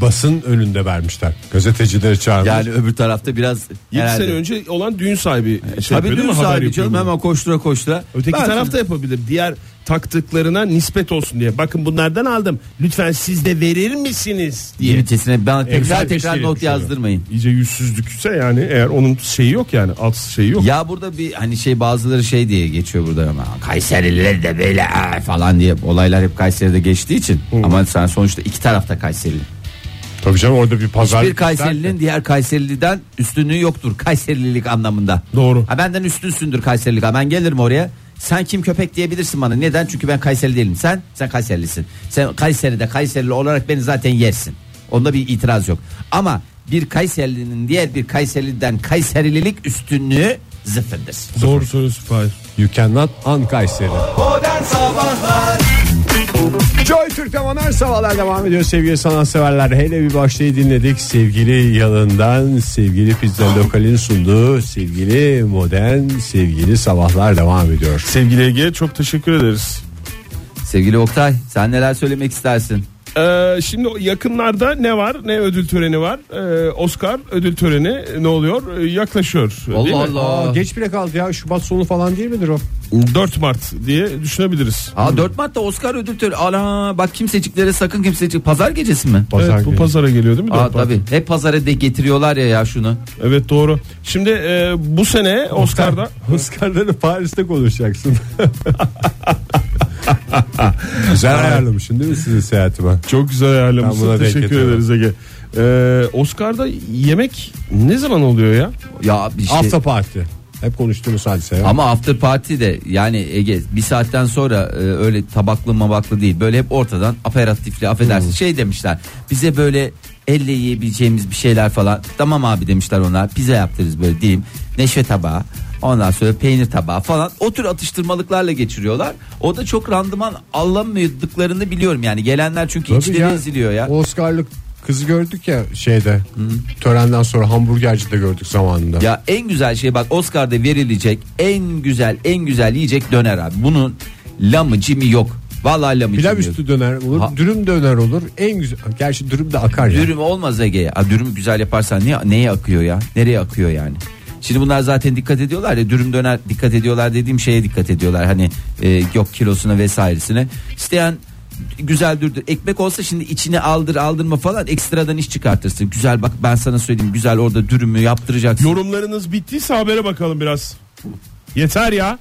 S3: basın önünde vermişler. Gazetecileri çağırmış.
S4: yani öbür tarafta biraz
S5: 7
S4: herhalde- E,
S5: sene önce olan düğün sahibi şey
S4: Tabii
S5: yapıyor değil
S4: düğün
S5: mi? Haber
S4: sahibi
S5: yapıyor
S4: canım
S5: bunu.
S4: hemen koştura koştura.
S5: Öteki
S4: Ben
S5: taraf da yapabilir. Diğer taktıklarına nispet olsun diye. Bakın bunlardan aldım. Lütfen siz de verir misiniz diye. şey
S4: Limitesine ben tekrar tekrar
S3: teşkil
S4: not
S3: etmiş oluyor.
S4: yazdırmayın.
S5: İyice yüzsüzlükse yani eğer onun şeyi yok yani alt şeyi yok.
S4: Ya burada bir hani şey bazıları şey diye geçiyor burada ama Kayserililer de böyle "Aa!" falan diye olaylar hep Kayseri'de geçtiği için ama sen sonuçta iki tarafta Kayserili.
S3: Tabii canım orada bir pazar.
S4: Hiçbir Kayserili'nin diğer Kayserili'den üstünlüğü yoktur Kayserililik anlamında.
S5: Doğru.
S4: Ha benden üstünsündür Kayserilik. Ha ben gelirim oraya. Sen kim köpek diyebilirsin bana. Neden? Çünkü ben Kayseri değilim. Sen sen Kayserilisin. Sen Kayseri'de Kayserili olarak beni zaten yersin. Onda bir itiraz yok. Ama bir Kayserili'nin diğer bir Kayserili'den Kayserililik üstünlüğü zıfırdır.
S5: Doğru söylüyorsun Fahir.
S3: You cannot un Kayseri.
S6: Modern Sabahlar
S7: Joy Türk'te modern sabahlar devam ediyor.
S3: Diyor sevgili sanatseverler hele bir başlığı dinledik. Sevgili Yalın'dan sevgili Pizza Lokal'in sunduğu sevgili modern sevgili sabahlar devam ediyor.
S5: Sevgili Ege çok teşekkür ederiz.
S4: Sevgili Oktay sen neler söylemek istersin?
S5: Ee, şimdi yakınlarda ne var? Ne ödül töreni var? Ee, Oscar ödül töreni ne oluyor? Ee, yaklaşıyor. değil mi?
S4: Allah.
S3: geç bile kaldı ya Şubat sonu falan değil midir o?
S5: 4 Mart diye düşünebiliriz.
S4: Aa, 4 Mart'ta Oscar ödül töreni. Ana bak kimseciklere sakın kimsecik. Pazar gecesi mi?
S5: evet, bu pazara geliyor değil mi?
S4: Aa,
S5: dört Mart?
S4: tabii. Hep pazara de getiriyorlar ya ya şunu.
S5: Evet doğru. Şimdi e, bu sene Oscar'da
S3: Oscar'ları Paris'te konuşacaksın. (laughs) Güzel ayarlamışsın değil mi sizin seyahatime?
S5: çok güzel
S3: Ben buna
S5: ayarlamışsın.
S3: denk
S5: Teşekkür
S3: getirdim.
S5: ederiz Ege. Ee, Oscar'da yemek ne zaman oluyor ya?
S4: Ya bir şey.
S3: After Party. Hep konuştuğumuz hadise. ya.
S4: Ama after party de yani Ege bir saatten sonra e, öyle tabaklı mabaklı değil. Böyle hep ortadan aperatifli affedersin
S3: Hmm.
S4: şey demişler. Bize böyle elle yiyebileceğimiz bir şeyler falan. Tamam abi demişler ona pizza yaptırırız böyle diyeyim. Neşve tabağı ondan sonra peynir tabağı falan o tür atıştırmalıklarla geçiriyorlar. O da çok randıman alamadıklarını biliyorum yani gelenler çünkü
S3: Tabii
S4: içleri eziliyor ya.
S3: Oscar'lık kızı gördük ya şeyde. Törenden sonra hamburgercide gördük zamanında.
S4: Ya en güzel şey bak Oscar'da verilecek en güzel en güzel yiyecek döner abi. Bunun lamı cimi yok. Vallahi lamı
S3: Pilav
S4: cimi yok.
S3: üstü döner olur,
S4: Ha.
S3: dürüm döner olur. En güzel. Gerçi dürüm de akar ya.
S4: Dürüm olmaz Ege'ye. Aa, dürüm güzel yaparsan niye, neye akıyor ya? Nereye akıyor yani? Şimdi bunlar zaten dikkat ediyorlar ya dürüm döner dikkat ediyorlar dediğim şeye dikkat ediyorlar. Hani e, yok kilosuna vesairesine. İsteyen güzel dürdür. Ekmek olsa şimdi içine aldır aldırma falan ekstradan iş çıkartırsın. Güzel bak ben sana söyleyeyim güzel orada dürümü yaptıracaksın.
S5: Yorumlarınız bittiyse habere bakalım biraz. Yeter ya.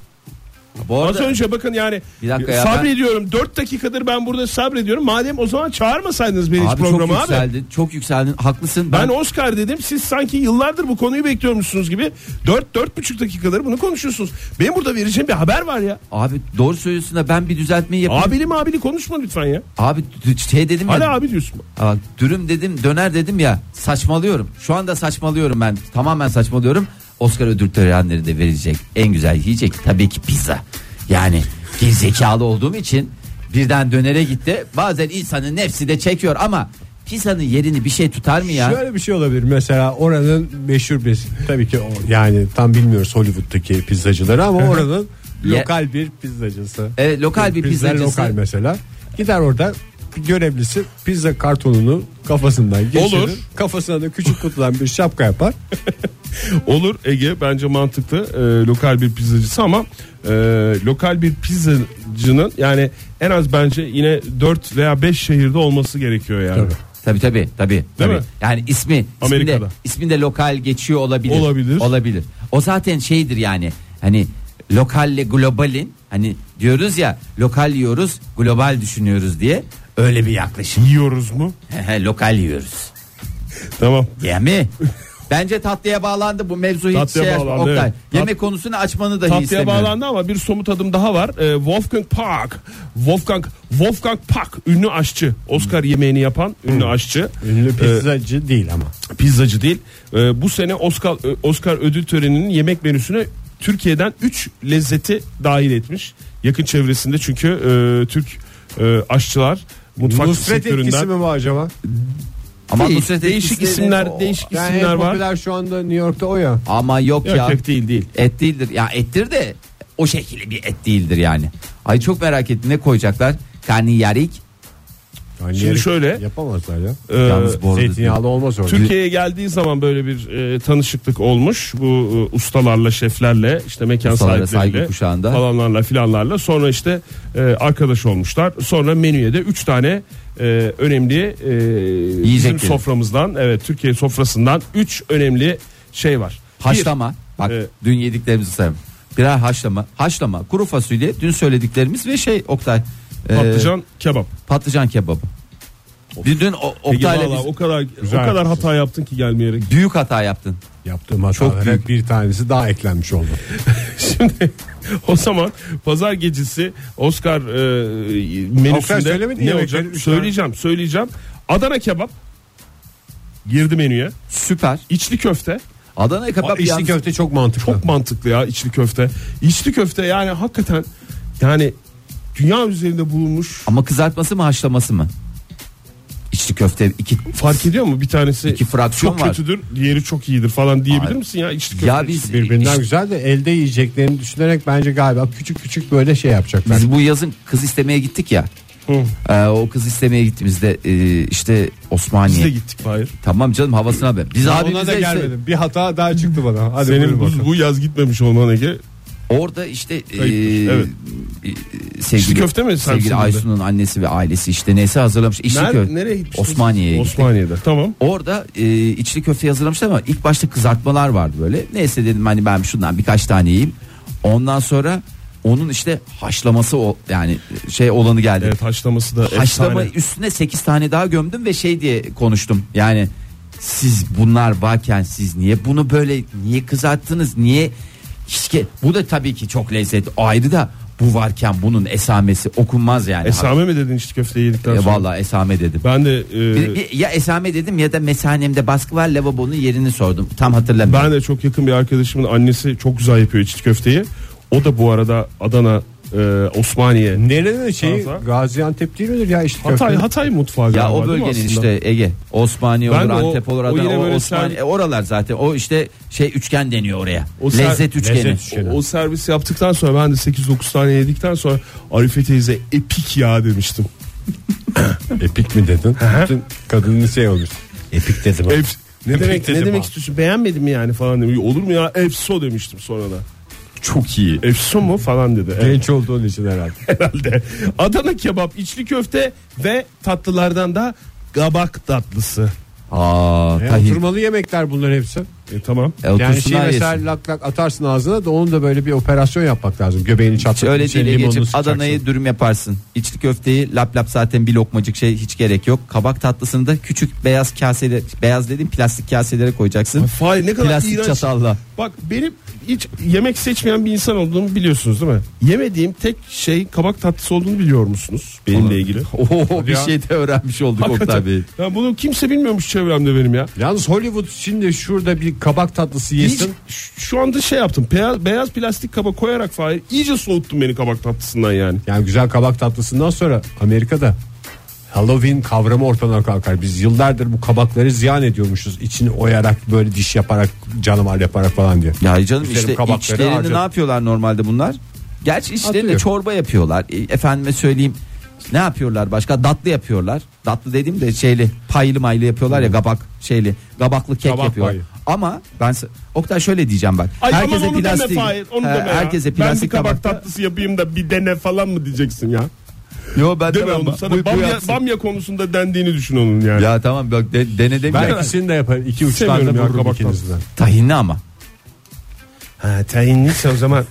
S4: Bu
S5: Az
S4: arada-
S5: önce bakın yani
S4: Bir dakika ya,
S5: sabrediyorum. 4 dakikadır ben burada sabrediyorum. Madem o zaman çağırmasaydınız beni hiç
S4: Abi çok
S5: programa abi.
S4: yükseldin. Çok yükseldin. Haklısın.
S5: Ben Oscar dedim. Siz sanki yıllardır bu konuyu bekliyormuşsunuz gibi 4 dört buçuk dakikaları bunu konuşuyorsunuz. Benim burada vereceğim bir haber var ya.
S4: Abi doğru söylüyorsun da ben bir düzeltmeyi yapayım.
S5: Abili mabili konuşma lütfen ya.
S4: Abi, d- şey dedim
S5: Hala
S4: ya.
S5: abi diyorsun.
S4: Aa, dürüm dedim, döner dedim ya. Saçmalıyorum. Şu anda saçmalıyorum ben. Tamamen saçmalıyorum. Oscar ödül törenleri de verilecek. En güzel yiyecek tabii ki pizza. Yani gerizekalı olduğum için birden dönere gitti. Bazen insanın nefsi de çekiyor ama pizzanın yerini bir şey tutar mı ya?
S3: Şöyle bir şey olabilir mesela oranın meşhur bir tabii ki o- yani tam bilmiyoruz Hollywood'daki pizzacıları ama oranın
S4: Ye-
S3: lokal bir pizzacısı.
S4: Evet, E, lokal bir
S3: Pizza
S4: pizzacısı.
S3: lokal mesela. Gider orada görevlisi pizza kartonunu kafasından geçirir.
S5: Olur.
S3: Kafasına da küçük kutudan bir şapka yapar.
S5: Olur Ege bence mantıklı Ee, lokal bir pizzacısı ama e, lokal bir pizzacının yani en az bence yine 4 veya 5 şehirde olması gerekiyor yani.
S3: Tabii.
S4: Tabii tabii tabii. tabii.
S5: mi?
S4: Yani ismi isminde,
S5: Amerika'da.
S4: isminde lokal geçiyor olabilir.
S5: Olabilir.
S4: Olabilir. O zaten şeydir yani. Hani lokalle globalin hani diyoruz ya lokal yiyoruz, global düşünüyoruz diye öyle bir yaklaşım.
S5: Yiyoruz mu?
S4: He he, lokal yiyoruz.
S5: Tamam.
S4: Diye
S5: (laughs)
S4: mi? Bence tatlıya bağlandı bu mevzu hiç
S5: Tatlıya
S4: şey
S5: bağlandı,
S4: Oktay.
S5: evet. Tat-
S4: Yemek konusunu açmanı dahi
S5: Tatlıya
S4: istemiyorum.
S5: bağlandı ama bir somut adım daha var. Ee, Wolfgang Park. Wolfgang Wolfgang Park ünlü aşçı. Oscar yemeğini yapan ünlü aşçı.
S3: Ünlü
S5: Ee,
S3: pizzacı değil ama.
S5: pizzacı değil. Ee, bu sene Oscar Oscar ödül töreninin yemek menüsüne Türkiye'den 3 lezzeti dahil etmiş. Yakın çevresinde çünkü e, Türk e, aşçılar mutfak
S3: Nusret etkisi
S5: sektöründen
S3: mi bu acaba?
S4: Ama
S5: Değil,
S4: Nusret
S5: değişik
S4: etkisleri-
S5: isimler,
S4: Oo.
S5: değişik
S3: Yani
S5: isimler
S3: en
S5: var.
S3: popüler şu anda New York'ta o ya.
S4: Ama yok,
S5: Yok,
S4: ya.
S5: yok, değil, değil.
S4: Et değildir. Ya ettir de o şekilde bir et değildir yani. Ay çok merak ettim ne koyacaklar? Karniyarik.
S5: Şimdi şöyle
S3: Yapamazlar ya.
S5: e,
S4: Yalnız bu arada-
S3: Zeytinyağlı olmaz orada.
S5: Türkiye'ye geldiği zaman böyle bir e, tanışıklık olmuş bu e, ustalarla şeflerle işte mekan
S4: Ustalara saygı
S5: sahipleriyle
S4: kuşağında.
S5: falanlarla filanlarla sonra işte e, arkadaş olmuşlar sonra menüye de 3 tane e, önemli e, bizim
S4: gelir.
S5: soframızdan evet Türkiye sofrasından 3 önemli şey var. Bir,
S4: Haşlama. Bak
S5: Evet.
S4: dün yediklerimizi sayalım. Birer haşlama, haşlama, kuru fasulye, dün söylediklerimiz ve şey Oktay. e,
S5: patlıcan kebap.
S4: patlıcan kebabı. Bir dün o-
S5: Peki
S4: Oktay'la
S5: valla
S4: biz
S5: o kadar
S3: Güzel.
S5: o kadar hata yaptın ki gelmeyerek.
S4: büyük hata yaptın.
S3: Yaptığım hatalara
S4: büyük.
S3: bir tanesi daha eklenmiş oldu.
S5: (laughs) Şimdi o zaman pazar gecesi Oscar e,
S3: Oktay
S5: menüsünde
S3: söylemedi
S5: ne
S3: yemekleri
S5: olacak?
S3: üç tane.
S5: Söyleyeceğim, söyleyeceğim. Adana kebap girdi menüye.
S4: Süper.
S5: İçli köfte.
S4: Adana kebap
S3: İçli
S4: yalnız-
S3: köfte çok mantıklı.
S5: Çok mantıklı ya içli köfte. İçli köfte yani hakikaten yani dünya üzerinde bulunmuş.
S4: Ama kızartması mı haşlaması mı? İçli köfte iki
S5: Fark ediyor mu bir tanesi
S4: İki fraksiyon
S5: çok
S4: var.
S5: kötüdür, diğeri çok iyidir falan diyebilir misin ya içli köfte?
S4: Ya biz
S3: Birbirinden
S4: işte
S3: güzel de elde yiyeceklerini düşünerek bence galiba küçük küçük böyle şey yapacaklar.
S4: biz bu yazın kız istemeye gittik ya.
S5: Hı.
S4: Ee, o kız istemeye gittiğimizde e, işte
S5: Biz de
S4: Osmaniye.
S5: gittik Fahir.
S4: Tamam canım havasına be. Biz abi
S3: Ona da gelmedim. Bir hata daha çıktı bana. Hadi
S5: Senin
S3: Senin
S5: bu, bu yaz gitmemiş olman Ege.
S4: Orada işte e,
S5: Ayıptır, şey, evet.
S4: e, sevgili,
S5: İçli köfte mi
S4: sevgili
S5: servisinde?
S4: Aysun'un annesi ve ailesi işte neyse hazırlamış. İçli
S5: Nerede-
S4: köfte.
S5: nereye gitmiştiniz?
S4: Osmaniye'ye gittik.
S5: Osmaniye'de tamam.
S4: Orada e, içli köfte hazırlamışlar ama ilk başta kızartmalar vardı böyle. Neyse dedim hani ben şundan birkaç tane yiyeyim. Ondan sonra onun işte haşlaması o yani şey olanı geldi.
S5: Evet E, haşlaması da
S4: Haşlama
S5: efsane.
S4: üstüne 8 tane daha gömdüm ve şey diye konuştum. Yani siz bunlar varken siz niye bunu böyle niye kızarttınız? Niye Hiç- bu da tabii ki çok lezzetli o ayrı da bu varken bunun esamesi okunmaz yani.
S5: Esame mi dedin içli köfteyi yedikten
S4: Ya
S5: sonra?
S4: vallahi esame dedim.
S5: Ben de e,
S4: Bir- bir- ya esame dedim ya da mesanemde baskı var lavabonun yerini sordum. Tam hatırlamıyorum.
S5: ben de çok yakın bir arkadaşımın annesi çok güzel yapıyor içli köfteyi. O da bu arada Adana, e, Osmaniye,
S3: Nerenin şeyi
S5: Fazla.
S3: Gaziantep değil midir ya işte
S5: Hatay, Hatay mutfağı
S4: Ya
S5: galiba,
S4: o
S5: değil mi
S4: bölgenin
S5: aslında?
S4: işte Ege, Osmaniye olur,
S5: Ben de o-
S4: Antep olur,
S5: o
S4: Adana,
S5: yine
S4: o
S5: böyle
S4: Osmaniye,
S5: ser-
S4: e, oralar zaten. O işte şey üçgen deniyor oraya.
S5: O ser-
S4: lezzet üçgeni.
S3: Lezzet üçgeni.
S5: O, o servisi yaptıktan sonra ben de 8-9 tane yedikten sonra Arife teyze epik ya demiştim.
S3: Epik mi dedin? Bütün kadının şey olmuş. Epik dedim.
S5: Ep- ne demek ne
S3: dedim
S5: demek
S3: ha.
S5: istiyorsun? Beğenmedin mi yani falan dedim. Olur mu ya? Efso demiştim sonra da.
S3: Çok iyi.
S5: Efso mu falan dedi. Evet.
S3: Genç olduğun için herhalde.
S5: herhalde. Adana kebap, içli köfte ve tatlılardan da gabak tatlısı.
S4: Aa,
S3: E,
S4: tahin.
S3: oturmalı yemekler bunlar hepsi.
S5: E, tamam.
S4: E, otursunlar
S3: Yani şey mesela
S4: yesin.
S3: lak lak atarsın ağzına da onun da böyle bir operasyon yapmak lazım. Göbeğini
S4: Hiç
S3: çatlatıp
S4: Öyle
S5: şey,
S3: içine
S4: değil
S3: limonunu
S4: Ege'ciğim.
S3: sıkacaksın.
S4: Adana'yı dürüm yaparsın. İçli köfteyi lap lap zaten bir lokmacık şey hiç gerek yok. Kabak tatlısını da küçük beyaz kasede beyaz dedim plastik kaselere koyacaksın.
S5: Fahir ne kadar
S4: Plastik
S5: iğrenç.
S4: çatalla.
S5: Bak benim hiç yemek seçmeyen bir insan olduğumu biliyorsunuz değil mi? Yemediğim tek şey kabak tatlısı olduğunu biliyor musunuz benimle ilgili?
S4: (laughs) Oo bir
S3: ya.
S4: şey de öğrenmiş olduk Oktay Bey.
S5: Ya bunu kimse bilmiyormuş çevremde benim ya.
S3: Yalnız Hollywood şimdi şurada bir kabak tatlısı
S5: Hiç,
S3: yesin.
S5: şu- şu anda şey yaptım. Beyaz, beyaz plastik kaba koyarak Fahir iyice soğuttun beni kabak tatlısından yani.
S3: Yani güzel kabak tatlısından sonra Amerika'da Halloween kavramı ortadan kalkar. Biz yıllardır bu kabakları ziyan ediyormuşuz. İçini oyarak böyle diş yaparak canavar yaparak falan diye.
S4: Ya canım
S3: Üstelik
S4: işte
S3: kabakları
S4: içlerini
S3: harcadı.
S4: ne yapıyorlar normalde bunlar? Gerçi içlerinde
S3: Atıyor.
S4: çorba yapıyorlar. E, Efendime söyleyeyim ne yapıyorlar başka? Datlı yapıyorlar. Datlı dediğim de şeyli paylı maylı yapıyorlar
S5: Hmm.
S4: ya kabak şeyli. Kabaklı kek
S3: Kabak
S4: yapıyor.
S3: payı.
S4: Ama ben s- Oktay şöyle diyeceğim bak.
S5: Ay aman onu deme Fahir onu
S4: He,
S5: deme ya.
S4: herkese
S5: ben bir
S4: plastik
S5: kabak
S4: kabakta.
S5: tatlısı yapayım da bir dene falan mı diyeceksin ya?
S4: Yo ben
S5: Deme
S4: demem.
S5: onu sana
S4: Bu- bu
S5: bamya,
S4: yapsın.
S5: bamya konusunda dendiğini düşün onun yani.
S4: Ya tamam bak de, dene demeyeceğim.
S3: Ben ikisini de yaparım. İki üç tane de
S5: Sevmiyorum ya
S3: vururum
S5: kabak
S3: ikinizden.
S4: Tahinli ama.
S5: Ha tahinliyse o zaman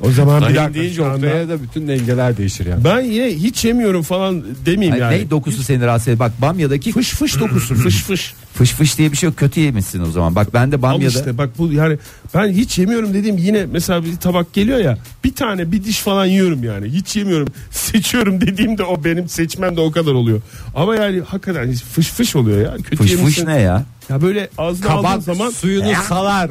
S5: o zaman bir
S3: Tahin
S5: dakika
S3: deyince
S5: şu anda-
S3: ortaya da bütün dengeler değişir yani.
S5: Ben yine hiç yemiyorum falan demeyeyim
S4: Ay, Hmm.
S5: yani.
S4: Ne dokusu seni rahatsız ediyor? Bak bamyadaki fış fış dokusu.
S5: Fış fış.
S4: fış fış diye bir şey yok. Kötü yemişsin o zaman. Bak ben de
S5: Al
S4: bamyada.
S5: işte bak bu yani ben hiç yemiyorum dediğim yine mesela bir tabak geliyor ya bir tane bir diş falan yiyorum yani hiç yemiyorum (laughs) seçiyorum dediğimde o benim seçmem de o kadar oluyor. Ama yani hakikaten hiç fış fış oluyor ya. Kötü
S4: Fış fış
S5: yemişsin.
S4: ne ya?
S5: Ya böyle ağzına aldığın
S3: Kabak
S5: zaman
S3: suyunu salar.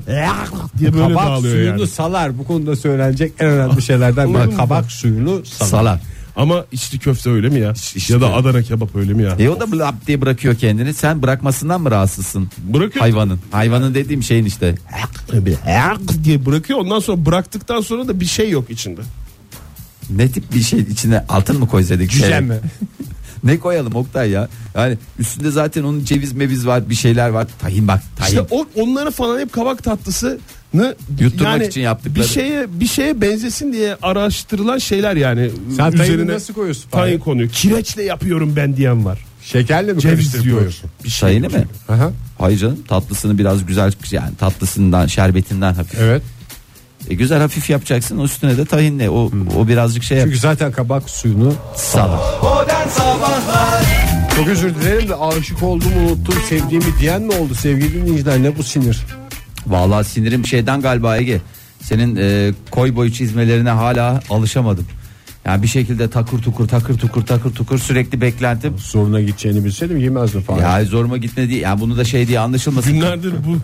S5: diye böyle
S3: kabak
S5: dağılıyor
S3: suyunu
S5: yani.
S3: salar. Bu konuda söylenecek en önemli şeylerden
S5: Olur
S3: biri.
S5: mu?
S3: Kabak suyunu salar.
S4: Salar.
S5: Ama içli köfte öyle mi ya?
S4: içli
S5: ya da
S4: köfte.
S5: Adana kebap öyle mi ya?
S4: E o da lap diye bırakıyor kendini. Sen bırakmasından mı rahatsızsın?
S5: Bırakıyor.
S4: Hayvanın. Hayvanın dediğim şeyin işte.
S5: Hak diye bırakıyor ondan sonra bıraktıktan sonra da bir şey yok içinde.
S4: Ne tip bir şey içine altın mı koysaydık?
S3: Cüce
S4: Şey-
S3: mi?
S4: ne koyalım Oktay ya? Yani üstünde zaten onun ceviz meviz var bir şeyler var. Tahin bak tahin.
S5: İşte o, onları falan hep kabak tatlısını
S4: Yutturmak için yaptıkları.
S5: Bir şeye bir şeye benzesin diye araştırılan şeyler yani.
S8: Sen tayını
S5: Üzerine
S8: nasıl koyuyorsun?
S5: Tayin konuyor. Kireçle yapıyorum ben diyen var.
S8: Şekerle mi
S5: Ceviz
S8: karıştırıp
S5: diyor.
S8: koyuyorsun?
S5: Bir şey
S4: Tahini mi?
S8: Aha,
S4: Hayır canım tatlısını biraz güzel yani tatlısından şerbetinden hafif.
S8: evet.
S4: E, güzel hafif yapacaksın o üstüne de tahinle o, o birazcık şey yap.
S8: Çünkü zaten kabak suyunu
S4: Salat.
S2: Modern Sabahlar
S8: çok özür dilerim de aşık olduğumu unuttum sevdiğimi diyen mi oldu sevgili dinleyiciler ne bu sinir?
S4: Vallahi sinirim şeyden galiba Ege. Senin e, koy boy çizmelerine hala alışamadım. Yani bir şekilde takır tukur takır tukur takır tukur sürekli beklentim.
S8: Zoruna gideceğini bilseydim yemezdim falan.
S4: Ya zoruma gitmedi. Yani bunu da şey diye anlaşılmasın.
S5: Günlerdir bu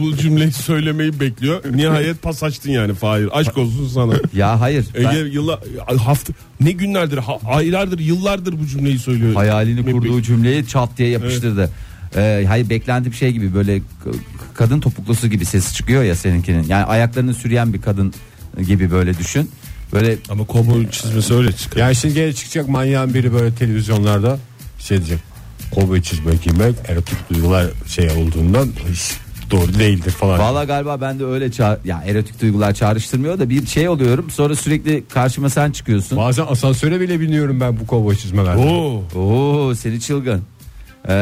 S5: bu cümleyi söylemeyi bekliyor. Nihayet pas açtın yani Fahir. Aşk olsun sana.
S4: Ya hayır.
S5: Ege
S4: ben
S5: yılla hafta ne günlerdir ha- aylardır yıllardır bu cümleyi söylüyor.
S4: hayalini
S5: Ne
S4: kurduğu cümleyi çat diye yapıştırdı. Ee, hayır beklentim şey gibi böyle k- kadın topuklusu gibi sesi çıkıyor ya seninkinin. Yani ayaklarını sürüyen bir kadın gibi böyle düşün. Böyle
S5: Ama kovboy çizmesi öyle çıkar.
S8: Ya şimdi gene çıkacak manyağın biri böyle televizyonlarda şey diyecek. Kovboy çizmek giymek erotik duygular şey olduğundan hiç doğru değildir falan.
S4: Valla galiba ben de öyle ça- ya erotik duygular çağrıştırmıyor da bir şey oluyorum. Sonra sürekli karşıma sen çıkıyorsun.
S8: Bazen asansöre bile biniyorum ben bu kovboy çizmelerde.
S5: Oo.
S4: Oo seni çılgın. Ee,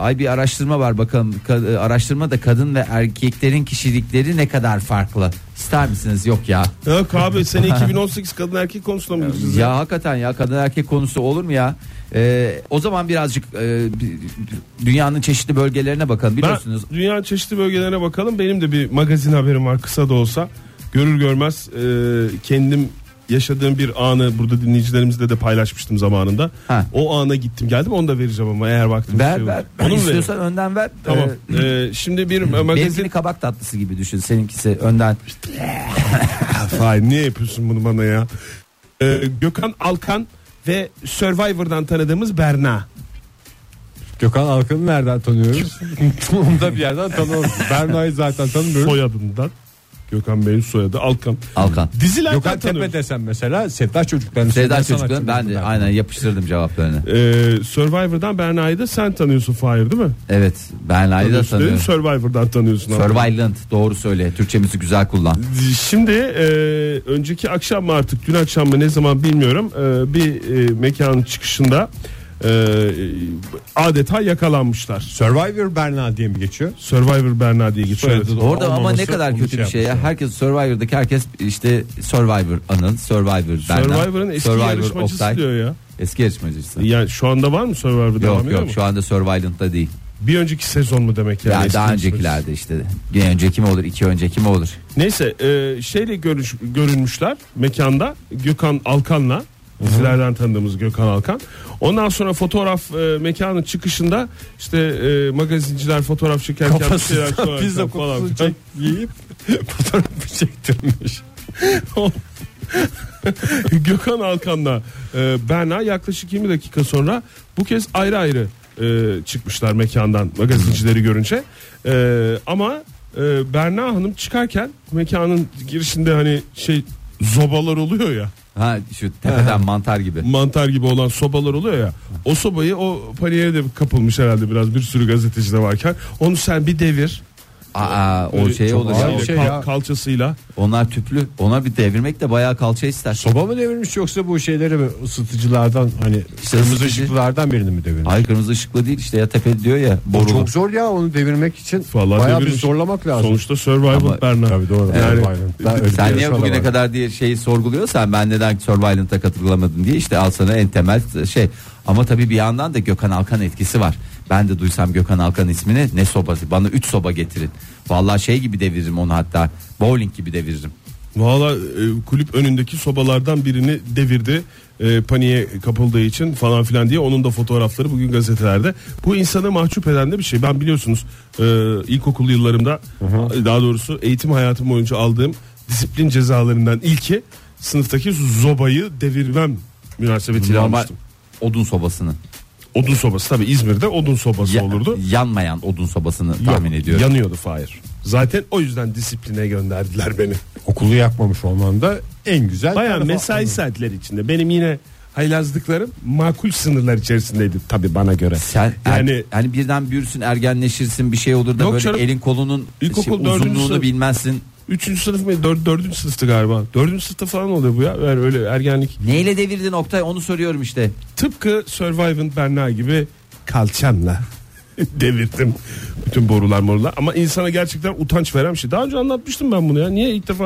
S4: ay bir araştırma var bakalım. Ka- araştırma da kadın ve erkeklerin kişilikleri ne kadar farklı. İster misiniz? Yok ya.
S5: Ya abi sene 2018 kadın erkek konusuna mı gireceğiz?
S4: Ya hakikaten ya kadın erkek konusu olur mu ya? Ee, o zaman birazcık e, bi- dünyanın çeşitli bölgelerine bakalım.
S5: Ben
S4: Biliyorsunuz
S5: dünyanın çeşitli bölgelerine bakalım. Benim de bir magazin haberim var kısa da olsa. Görür görmez e, kendim yaşadığım bir anı burada dinleyicilerimizle de paylaşmıştım zamanında.
S4: Ha.
S5: O ana gittim geldim onu da vereceğim ama eğer vaktimiz
S4: ver
S5: şey
S4: ver.
S5: olur. Onu mu vereyim?
S4: İstiyorsan önden ver.
S5: Tamam.
S4: Ee,
S5: E, şimdi bir magazin...
S4: benimkini kabak tatlısı gibi düşün. Seninkisi önden.
S5: Fahir, niye yapıyorsun bunu bana ya? E, Gökhan Alkan ve Survivor'dan tanıdığımız Berna.
S8: Gökhan Alkan'ı nereden tanıyoruz? (laughs) Onu da bir yerden tanıyoruz. Berna'yı zaten tanımıyoruz.
S5: Soyadından. Gökhan Bey'in soyadı Alkan.
S4: Alkan.
S5: Dizilerden
S8: Gökhan
S5: tanıyoruz.
S8: Tepe desem mesela Sevda Çocuklar'ın
S4: Sevda
S8: Sevda
S4: çocukların ben de
S8: Sanatçıları'ndan.
S4: aynen yapıştırdım cevaplarını.
S5: Ee, Survivor'dan Berna'yı da sen tanıyorsun Fahir değil mi?
S4: Evet ben Lale'yi de
S5: Tanıyorsun değil mi?
S4: tanıyorum.
S5: Survivor'dan tanıyorsun. abi.
S4: Survivalent doğru söyle. Türkçemizi güzel kullan.
S5: Şimdi e, önceki akşam mı artık dün akşam mı ne zaman bilmiyorum e, bir e, mekanın çıkışında e, adeta yakalanmışlar.
S8: Survivor Berna diye mi geçiyor?
S5: Survivor Berna diye geçiyor.
S8: Soyadı da
S4: Orada ama ne
S8: olmaması
S4: kadar
S8: onu
S4: kötü bir şey ya.
S8: yapmışlar.
S4: Herkes Survivor'daki herkes işte Survivor anın Survivor Berna.
S5: Survivor'ın eski
S4: Survivor
S5: yarışmacısı
S4: Oktay.
S5: diyor ya.
S4: Eski yarışmacısı.
S5: Yani şu anda var mı Survivor devam
S4: Yok
S5: ediyor
S4: yok
S5: mu?
S4: şu anda Survivalent'ta değil.
S5: Bir önceki sezon mu demek yani?
S4: Ya
S5: eski
S4: daha
S5: yarışmacısı?
S4: öncekilerde işte. Bir önceki mi olur, iki önceki mi olur?
S5: Neyse e, şeyle görüş, görünmüşler mekanda Gökhan Alkan'la dizilerden tanıdığımız Gökhan Alkan. Ondan sonra fotoğraf e, mekanın çıkışında işte e, magazinciler fotoğraf çekerken bir şeyler
S8: Kafasından
S5: sorarken
S8: pizza
S5: falan
S8: kokusunu
S5: filan.
S8: çek
S5: (laughs)
S8: yiyip fotoğrafı (laughs) çektirmiş.
S5: (laughs) Gökhan Alkan'la e, Berna yaklaşık 20 dakika sonra bu kez ayrı ayrı e, çıkmışlar mekandan magazincileri görünce. E, ama e, Berna Hanım çıkarken mekanın girişinde hani şey zobalar oluyor ya.
S4: Ha şu tepeden mantar gibi.
S5: mantar gibi olan sobalar oluyor ya. O sobayı o paniğe de kapılmış herhalde biraz bir sürü gazeteci de varken. Onu sen bir devir.
S4: Aa, o
S5: Böyle
S4: şey
S5: çok
S4: olur
S5: ağır
S4: ya.
S5: bir
S8: şey
S5: kal-
S8: ya.
S5: Kalçasıyla.
S4: Onlar tüplü. Ona bir devirmek de bayağı kalça ister.
S8: Soba mı devirmiş yoksa bu şeyleri mi ısıtıcılardan hani kırmızı
S4: ısıtıcı.
S8: ışıklardan birini mi devirmiş?
S4: Hayır kırmızı ışıklı değil işte ya tepe diyor ya
S8: O
S4: boru.
S8: çok zor ya onu devirmek için.
S5: Vallahi
S8: Bayağı bir
S5: devirmiş.
S8: zorlamak lazım.
S5: Sonuçta Survival
S4: Ama-
S5: Berna.
S8: Tabii doğru.
S5: Yani,
S8: Survivor'ın da öyle bir
S4: Sen niye
S8: yarışma da
S4: bugüne
S8: var.
S4: kadar diye şeyi sorguluyorsan ben neden Survivalent'a katılamadım diye işte al sana en temel şey. Ama tabii bir yandan da Gökhan Alkan etkisi var. Ben de duysam Gökhan Alkan ismini ne sobası bana 3 soba getirin. Vallahi şey gibi deviririm onu hatta bowling gibi deviririm.
S5: Valla e, kulüp önündeki sobalardan birini devirdi. E, paniğe kapıldığı için falan filan diye onun da fotoğrafları bugün gazetelerde. Bu insanı mahcup eden de bir şey. Ben biliyorsunuz e, ilkokul yıllarımda daha doğrusu eğitim hayatım boyunca aldığım disiplin cezalarından ilki sınıftaki zobayı devirmem münasebetiyle
S4: Normal
S5: almıştım.
S4: odun sobasını.
S5: Odun sobası tabi İzmir'de odun sobası
S4: Ya-
S5: olurdu.
S4: Yanmayan odun sobasını
S5: Yok,
S4: tahmin ediyorum.
S5: Yanıyordu Fahir. Zaten o yüzden disipline gönderdiler beni.
S8: Okulu yakmamış olman da en güzel.
S5: Baya
S8: tarafı.
S5: mesai saatleri içinde benim yine haylazlıklarım makul sınırlar içerisindeydi tabii bana göre.
S4: Sen
S8: er-
S4: yani
S5: yani
S4: hani birden büyürsün, ergenleşirsin, bir şey olur da
S5: Yok
S4: böyle
S5: canım.
S4: elin kolunun
S5: İlkokul
S4: şey,
S5: dördüncü
S4: uzunluğunu
S5: sınıf.
S4: bilmezsin.
S5: 3. sınıf mı 4. 4. sınıftı galiba. 4. sınıfta falan oluyor bu ya. Yani öyle ergenlik.
S4: Neyle devirdin Oktay onu soruyorum işte.
S5: Tıpkı Surviving Berna gibi kalçamla (laughs) devirdim bütün borular morular ama insana gerçekten utanç veren bir şey. Daha önce anlatmıştım ben bunu ya. Niye ilk defa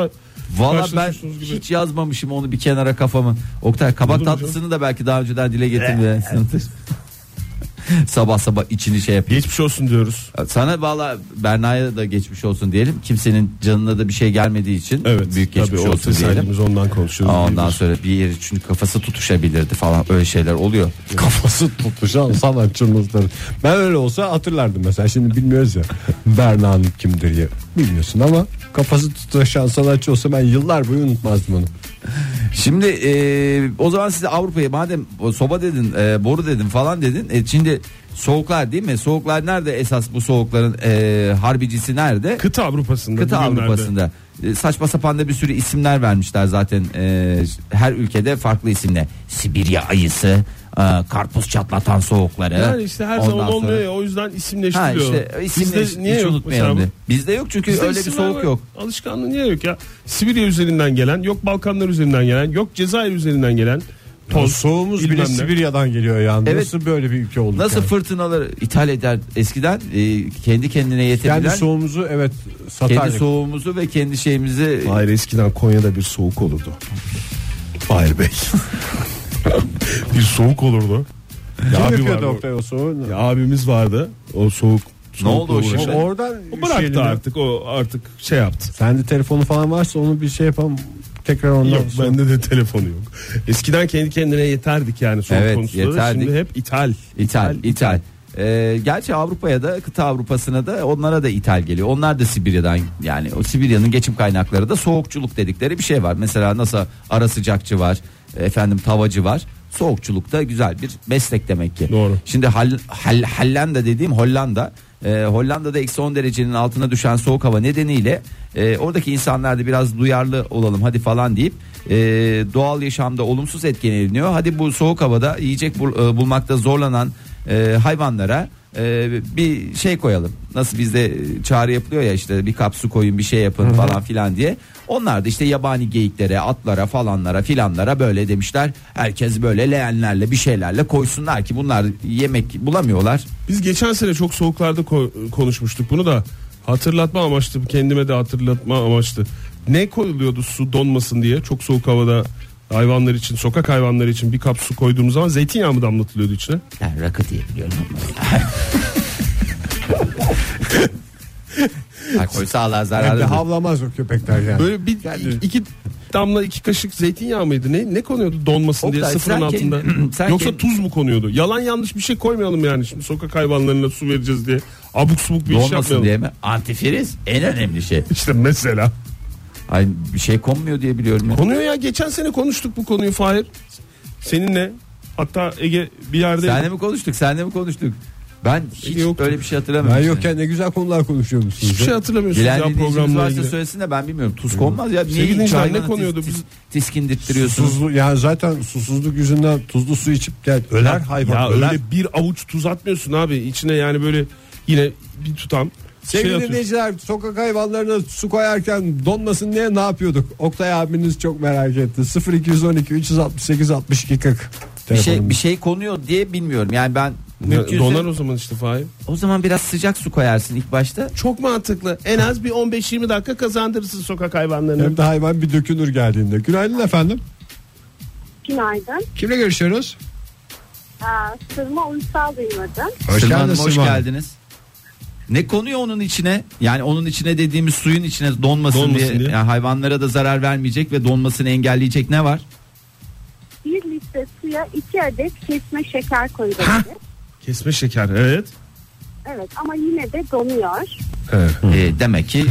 S4: Valla ben
S5: karşılaşıyorsunuz gibi?
S4: hiç yazmamışım onu bir kenara kafamı. Oktay kabak
S5: mu canım?
S4: tatlısını da belki daha önceden dile getirdi. (laughs) sabah sabah içini şey yapıyor.
S5: Geçmiş olsun diyoruz.
S4: Sana valla Berna'ya da geçmiş olsun diyelim. Kimsenin canına da bir şey gelmediği için
S5: Evet.
S4: büyük geçmiş
S5: tabii,
S4: olsun diyelim.
S5: Biz ondan konuşuyoruz.
S4: Aa, Ondan
S5: diyebiliriz.
S4: sonra bir yeri çünkü kafası tutuşabilirdi falan öyle şeyler oluyor.
S8: Kafası tutuşan sanatçımızdır. Ben öyle olsa hatırlardım mesela. Şimdi bilmiyoruz ya Berna Hanım kimdir ya. Bilmiyorsun ama kafası tutuşan sanatçı olsa ben yıllar boyu unutmazdım onu.
S4: Şimdi e, o zaman size Avrupa'ya madem o soba dedin, e, boru dedin falan dedin. E, şimdi soğuklar değil mi? Soğuklar nerede esas bu soğukların e, harbicisi nerede?
S5: kıta Avrupa'sında.
S4: Kıta
S5: bugünlerde.
S4: Avrupa'sında. E, saçma sapan da bir sürü isimler vermişler zaten e, her ülkede farklı isimle. Sibirya ayısı, e, karpuz çatlatan soğukları.
S5: Yani işte her
S4: Ondan
S5: zaman olmuyor
S4: sonra-
S5: ya o yüzden
S4: Ha
S5: isimleştiriyor.
S4: işte isimleri hiç,
S5: Bizde niye yok
S4: unutmayalım.
S5: mesela bu?
S4: diye. Bizde yok çünkü
S5: Bizde
S4: öyle bir
S5: isim
S4: soğuk
S5: var.
S4: yok.
S5: Alışkanlığı niye yok ya? Sibirya üzerinden gelen, yok Balkanlar üzerinden gelen, yok Cezayir üzerinden gelen. Toz,
S8: Soğumuz
S5: bilmem
S8: bile
S5: ne.
S8: Sibirya'dan geliyor yani.
S4: Evet.
S8: Nasıl böyle bir ülke olduk
S4: Nasıl
S8: yani?
S4: fırtınaları ithal eder eskiden e, kendi kendine yetebilen
S8: Kendi
S4: kendi,
S8: soğumuzu evet satardık.
S4: soğuğumuzu ve kendi şeyimizi
S5: Hayır eskiden Konya'da bir soğuk olurdu. Hayır Bey. (laughs) bir soğuk olurdu. Ya
S8: Kim
S5: abi
S8: yapıyordu
S5: vardı.
S8: Oktay o soğuğunu?
S5: Ya abimiz vardı. O soğuk.
S4: ne oldu o
S5: soğukla
S4: şimdi?
S5: uğraşan.
S8: Oradan
S5: O bıraktı
S8: şeyini-
S5: artık o artık şey yaptı.
S8: Sende telefonu falan varsa onu bir şey yapalım. Tekrar ondan
S5: Yok
S8: sonra.
S5: bende de telefonu yok. Eskiden kendi kendine yeterdik yani soğuk
S4: Evet,
S5: konusunda. da.
S4: yeterdik.
S5: Şimdi hep ithal.
S4: ithal ithal. E, gerçi Avrupa'ya da kıta Avrupa'sına da onlara da ithal geliyor. Onlar da Sibirya'dan yani o Sibirya'nın geçim kaynakları da soğukçuluk dedikleri bir şey var. Mesela nasıl ara sıcakçı var, efendim tavacı var. Soğukçuluk da güzel bir meslek demek ki.
S5: Doğru.
S4: Şimdi Hal, Hal, Hollanda dediğim Hollanda. e, Hollanda'da eksi 10 derecenin altına düşen soğuk hava nedeniyle e, oradaki insanlar da biraz duyarlı olalım hadi falan deyip e, doğal yaşamda olumsuz etkileniyor. Hadi bu soğuk havada yiyecek bul- e, bulmakta zorlanan e, hayvanlara e, bir şey koyalım. Nasıl bizde e, çağrı yapılıyor ya işte bir kap su koyun bir şey yapın falan filan diye. Onlar da işte yabani geyiklere, atlara falanlara filanlara böyle demişler. Herkes böyle leğenlerle bir şeylerle koysunlar ki bunlar yemek bulamıyorlar.
S5: Biz geçen sene çok soğuklarda ko- konuşmuştuk bunu da hatırlatma amaçlı kendime de hatırlatma amaçlı. Ne koyuluyordu su donmasın diye çok soğuk havada hayvanlar için sokak hayvanları için bir kap su koyduğumuz zaman zeytinyağı mı damlatılıyordu içine?
S4: Ben rakı diye (laughs) biliyorum. Alkol sağlığa
S8: Evde
S4: zararlı.
S8: havlamaz o köpekler yani.
S5: Böyle bir iki damla iki kaşık zeytinyağı mıydı ne ne konuyordu donmasın
S4: Oktay,
S5: diye sıfırın
S4: sen kendi-
S5: altında.
S4: (clears throat) sen
S5: Yoksa
S4: kendi-
S5: tuz mu konuyordu? Yalan yanlış bir şey koymayalım yani şimdi sokak hayvanlarına su vereceğiz diye abuk subuk bir iş
S4: Donmasın
S5: yapmayalım.
S4: diye mi? Antifriz en önemli şey.
S5: İşte mesela.
S4: Ay bir şey konmuyor diye biliyorum. ya.
S5: Konuyu ya geçen sene konuştuk bu konuyu Fahir. Seninle hatta Ege bir yerde
S4: Senle mi konuştuk? Senle mi konuştuk? Ben hiç
S5: Yoktu.
S4: öyle bir şey
S8: ben
S4: hatırlamıyorum.
S8: yokken ne güzel konular konuşuyormuşsunuz.
S5: hiçbir şey
S8: ya.
S5: hatırlamıyorsunuz
S4: Gelen
S5: ya
S4: dinleyicimiz
S5: programla
S4: varsa
S5: ilgili.
S4: söylesin de ben bilmiyorum. Tuz konmaz ya.
S5: Sevgili
S4: Niye hiç
S5: dinleyiciler, ne
S4: hayvanı
S5: konuyordu?
S4: tis,
S5: Biz-
S4: tis, tiskindirttiriyorsunuz?
S8: Susuzlu, yani zaten susuzluk yüzünden tuzlu su içip gel öler hayvan.
S5: Ya
S8: öler.
S5: öyle bir avuç tuz atmıyorsun abi içine yani böyle yine bir tutam şey
S8: Sevgili
S5: atıyorsun.
S8: dinleyiciler sokak hayvanlarına su koyarken donmasın diye ne yapıyorduk? Oktay abiniz çok merak etti. 0212 368 62 40.
S4: Bir şey bir şey konuyor diye bilmiyorum. Yani ben mümkünse-
S5: Ya, Donar o zaman işte Fahir.
S4: o zaman biraz sıcak su koyarsın ilk başta.
S5: Çok mantıklı. En az bir 15-20 dakika kazandırırsın sokak
S4: şey-
S5: hayvanlarını.
S8: Hem de hayvan bir dökünür geldiğinde. Günaydın efendim.
S9: Günaydın.
S8: Kimle görüşüyoruz?
S9: Aa, sırma uysal duymadım.
S8: Hoş
S4: Sırma Hanım,
S8: geldin
S4: hoş
S8: Sırma.
S4: geldiniz. Ne konuyor onun içine? Yani onun içine dediğimiz suyun içine donmasın,
S5: Donmasın
S4: diye.
S5: diye.
S4: Yani hayvanlara da zarar vermeyecek ve donmasını engelleyecek ne var?
S9: Bir litre suya iki adet kesme şeker
S5: Ha.
S9: koyulabilir.
S5: Kesme şeker evet.
S9: Evet ama yine de donuyor.
S4: Ee, demek ki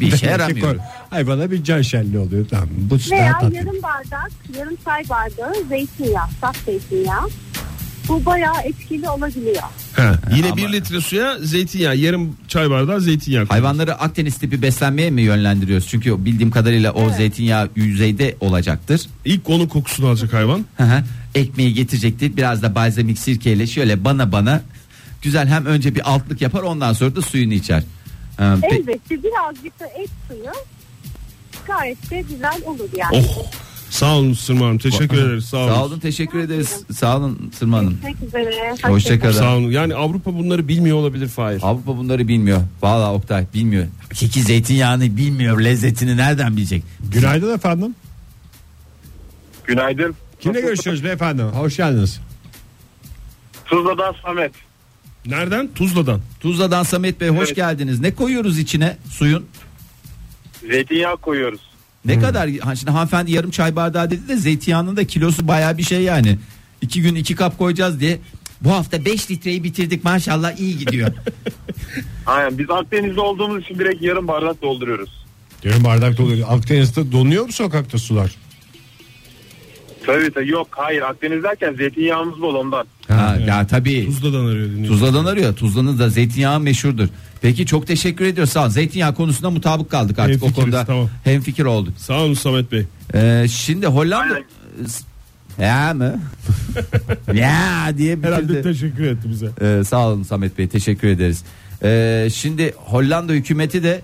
S4: bir
S5: (laughs)
S4: işe yaramıyor.
S8: Şey Hayvana bir can şenli oluyor. Tamam, bu
S9: Veya
S8: daha tatlı.
S9: yarım bardak, yarım çay bardağı zeytinyağı, saf zeytinyağı. Bu bayağı etkili olabiliyor.
S5: He, yine bir litre suya zeytinyağı yarım çay bardağı zeytinyağı.
S4: Hayvanları Akdeniz tipi beslenmeye mi yönlendiriyoruz? Çünkü bildiğim kadarıyla o zeytinyağı yüzeyde olacaktır.
S5: İlk onun kokusunu alacak hayvan.
S4: Hı hı. Ekmeği getirecektir. Biraz da balzamik sirkeyle şöyle bana bana güzel hem önce bir altlık yapar ondan sonra da suyunu içer. Ee, pe-
S9: Elbette birazcık da et suyu gayet de güzel olur yani.
S5: Oh. Sağ olun Sırma Hanım. Teşekkür ederiz. Sağ olun.
S4: Sağ olun teşekkür ederiz. Sağ olun Sırma Hanım.
S9: Görüşmek üzere.
S4: Hoşçakalın.
S5: Sağ olun. Yani Avrupa bunları bilmiyor olabilir Fahir.
S4: Avrupa bunları bilmiyor. Vallahi Oktay bilmiyor. Hakiki zeytinyağını bilmiyor. Lezzetini nereden bilecek?
S8: Günaydın efendim.
S10: Günaydın.
S8: Kimle görüşüyoruz beyefendi? Hoş geldiniz.
S10: Tuzla'dan Samet.
S5: Nereden? Tuzla'dan.
S4: Tuzla'dan Samet Bey hoş
S10: Evet.
S4: geldiniz. Ne koyuyoruz içine suyun?
S10: Zeytinyağı koyuyoruz.
S4: Ne
S5: Hmm.
S4: kadar ha, şimdi hanımefendi yarım çay bardağı dedi de zeytinyağının da kilosu bayağı bir şey yani. İki gün iki kap koyacağız diye. Bu hafta 5 litreyi bitirdik maşallah iyi
S5: (laughs)
S4: gidiyor.
S10: Aynen biz Akdeniz'de olduğumuz için direkt yarım bardak dolduruyoruz.
S8: Yarım bardak doluyor. Akdeniz'de donuyor mu sokakta sular?
S10: Tabii tabii yok hayır Akdeniz derken zeytinyağımız bol ondan.
S4: ha, ya tabii.
S5: Tuzla'dan arıyor dinliyorum.
S4: Tuzla'dan arıyor. Tuzla'nın da zeytinyağı meşhurdur. Peki çok teşekkür ediyoruz. Sağ ol. Zeytinyağı konusunda mutabık kaldık artık o
S5: Hemfikiriz,
S4: konuda.
S5: tamam.
S4: Hem fikir olduk.
S5: Sağ olun Samet Bey.
S4: Ee, şimdi Hollanda
S10: Aynen.
S4: ya mı? (laughs) ya diye
S5: Herhalde
S4: bitirdi.
S5: teşekkür etti bize.
S4: Ee, sağ olun Samet Bey teşekkür ederiz. Ee, şimdi Hollanda hükümeti de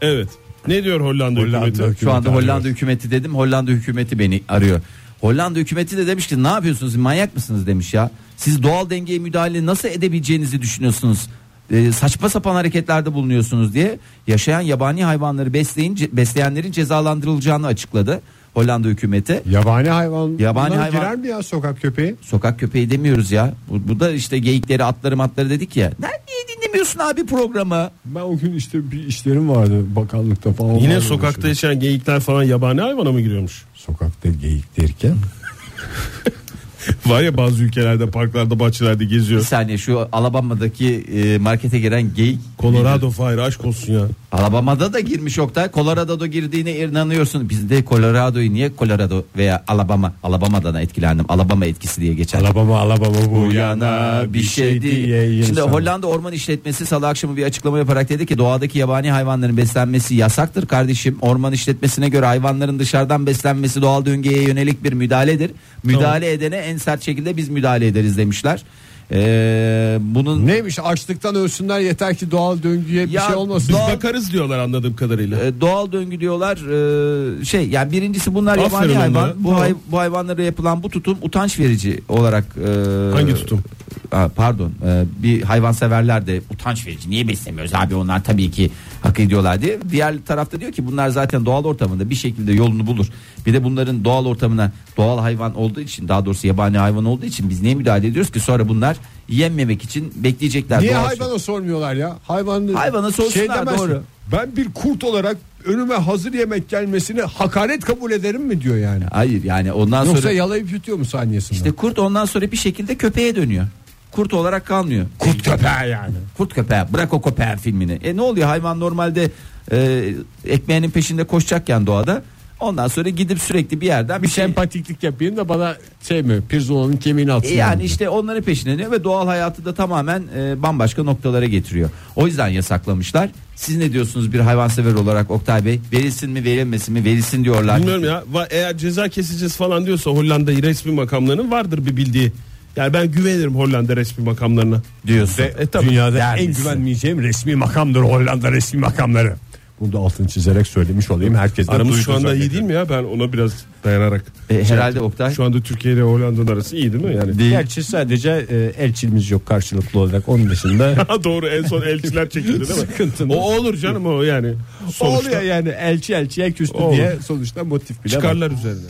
S5: Evet. Ne diyor Hollanda,
S8: Hollanda
S5: hükümeti?
S4: Şu anda
S8: arıyor.
S4: Hollanda hükümeti dedim. Hollanda hükümeti beni arıyor. Hollanda hükümeti de demiş ki ne yapıyorsunuz manyak mısınız demiş ya. Siz doğal dengeye müdahale nasıl edebileceğinizi düşünüyorsunuz. Ee, saçma sapan hareketlerde bulunuyorsunuz diye yaşayan yabani hayvanları besleyin, ce- besleyenlerin cezalandırılacağını açıkladı Hollanda hükümeti.
S8: Yabani hayvan.
S4: Yabani
S8: Bunlar
S4: hayvan-
S8: Girer mi ya sokak köpeği?
S4: Sokak köpeği demiyoruz ya. Bu, bu da işte geyikleri, atları, matları dedik ya. Lan Niye dinlemiyorsun abi programı?
S8: Ben o gün işte bir işlerim vardı bakanlıkta falan.
S5: Yine
S8: vardı
S5: sokakta
S8: şöyle.
S5: yaşayan geyikler falan yabani hayvana mı giriyormuş?
S8: Sokakta geyik derken.
S5: (laughs) Var ya bazı ülkelerde parklarda bahçelerde
S4: Bir
S5: geziyor.
S4: saniye şu Alabama'daki e, markete gelen geyik
S5: Colorado Fahir aşk olsun ya.
S4: Alabama'da da girmiş Oktay. Colorado'da girdiğine inanıyorsun. Biz de Colorado'yu niye Colorado veya Alabama, Alabama'dan etkilendim. Alabama etkisi diye geçer.
S8: Alabama Alabama bu yana bir şey diye.
S4: Şimdi Hollanda Orman İşletmesi salı akşamı bir açıklama yaparak dedi ki doğadaki yabani hayvanların beslenmesi yasaktır kardeşim. Orman işletmesine göre hayvanların dışarıdan beslenmesi doğal döngüye yönelik bir müdahaledir. Müdahale edene en sert şekilde biz müdahale ederiz demişler. Ee, bunun
S8: Neymiş açlıktan ölsünler yeter ki doğal döngüye bir
S4: Ya
S8: şey olmasın.
S5: Biz
S4: Doğal-
S5: bakarız diyorlar anladığım kadarıyla.
S4: E, doğal döngü diyorlar E, şey yani birincisi bunlar
S5: Aferin
S4: yabani
S5: onlara.
S4: hayvan bu,
S5: Tamam.
S4: hay- bu hayvanlara yapılan bu tutum utanç verici olarak e,
S5: Hangi tutum?
S4: Ha, pardon e, bir hayvanseverler de utanç verici niye beslemiyoruz abi onlar tabii ki hak ediyorlar diye diğer tarafta diyor ki bunlar zaten doğal ortamında bir şekilde yolunu bulur bir de bunların doğal ortamına doğal hayvan olduğu için daha doğrusu yabani hayvan olduğu için biz niye müdahale ediyoruz ki sonra bunlar yenmemek için bekleyecekler
S8: Niye
S4: Doğal-
S8: hayvana sormuyorlar ya? şey Hayvan
S4: şey. Hayvana sorsunlar,
S8: demez
S4: doğru.
S8: mi? Ben bir kurt olarak önüme hazır yemek gelmesini hakaret kabul ederim mi diyor yani.
S4: hayır yani ondan
S8: Yoksa
S4: sonra
S8: yalayıp yutuyor mu saniyesinde?
S4: İşte kurt ondan sonra bir şekilde köpeğe dönüyor. Kurt olarak kalmıyor.
S8: kurt köpeği yani.
S4: Kurt köpeği bırak o köpeği filmini. E ne oluyor hayvan normalde e, ekmeğinin peşinde koşacakken doğada. Ondan sonra gidip sürekli bir yerden bir şey...
S8: Sempatiklik yapayım da bana şey mi pirzolanın kemiğini
S4: E
S8: atsın.
S4: Yani işte onların peşine ve doğal hayatı da tamamen e, bambaşka noktalara getiriyor. O yüzden yasaklamışlar. Siz ne diyorsunuz bir hayvansever olarak Oktay Bey? Verilsin mi verilmesin mi? Verilsin diyorlar.
S5: Bilmiyorum ya. Va- Eğer ceza keseceğiz falan diyorsa Hollanda resmi makamlarının vardır bir bildiği. Yani ben güvenirim Hollanda resmi makamlarına.
S4: Diyorsun.
S5: E, tabii.
S8: Dünyada
S4: Der
S8: en
S4: misin?
S8: güvenmeyeceğim resmi makamdır Hollanda resmi makamları. Bunu da altını çizerek söylemiş olayım. Herkes de
S5: Aramız
S8: duydu
S5: şu anda iyi
S8: zannediyorum.
S5: değil mi ya? Ben ona biraz dayanarak.
S4: E, herhalde Oktay.
S5: Şu anda Türkiye ile Hollanda'nın arası iyi değil mi? Yani.
S8: Gerçi sadece e, elçimiz yok karşılıklı olarak. Onun dışında
S5: Ha doğru en son elçiler çekildi değil mi?
S8: Sıkıntı.
S5: O olur canım o yani.
S8: O
S5: (laughs) Sonuçta
S8: oluyor yani elçi elçiye küstü
S5: Olur.
S8: diye sonuçta motif bile var.
S5: çıkarlar üzerine.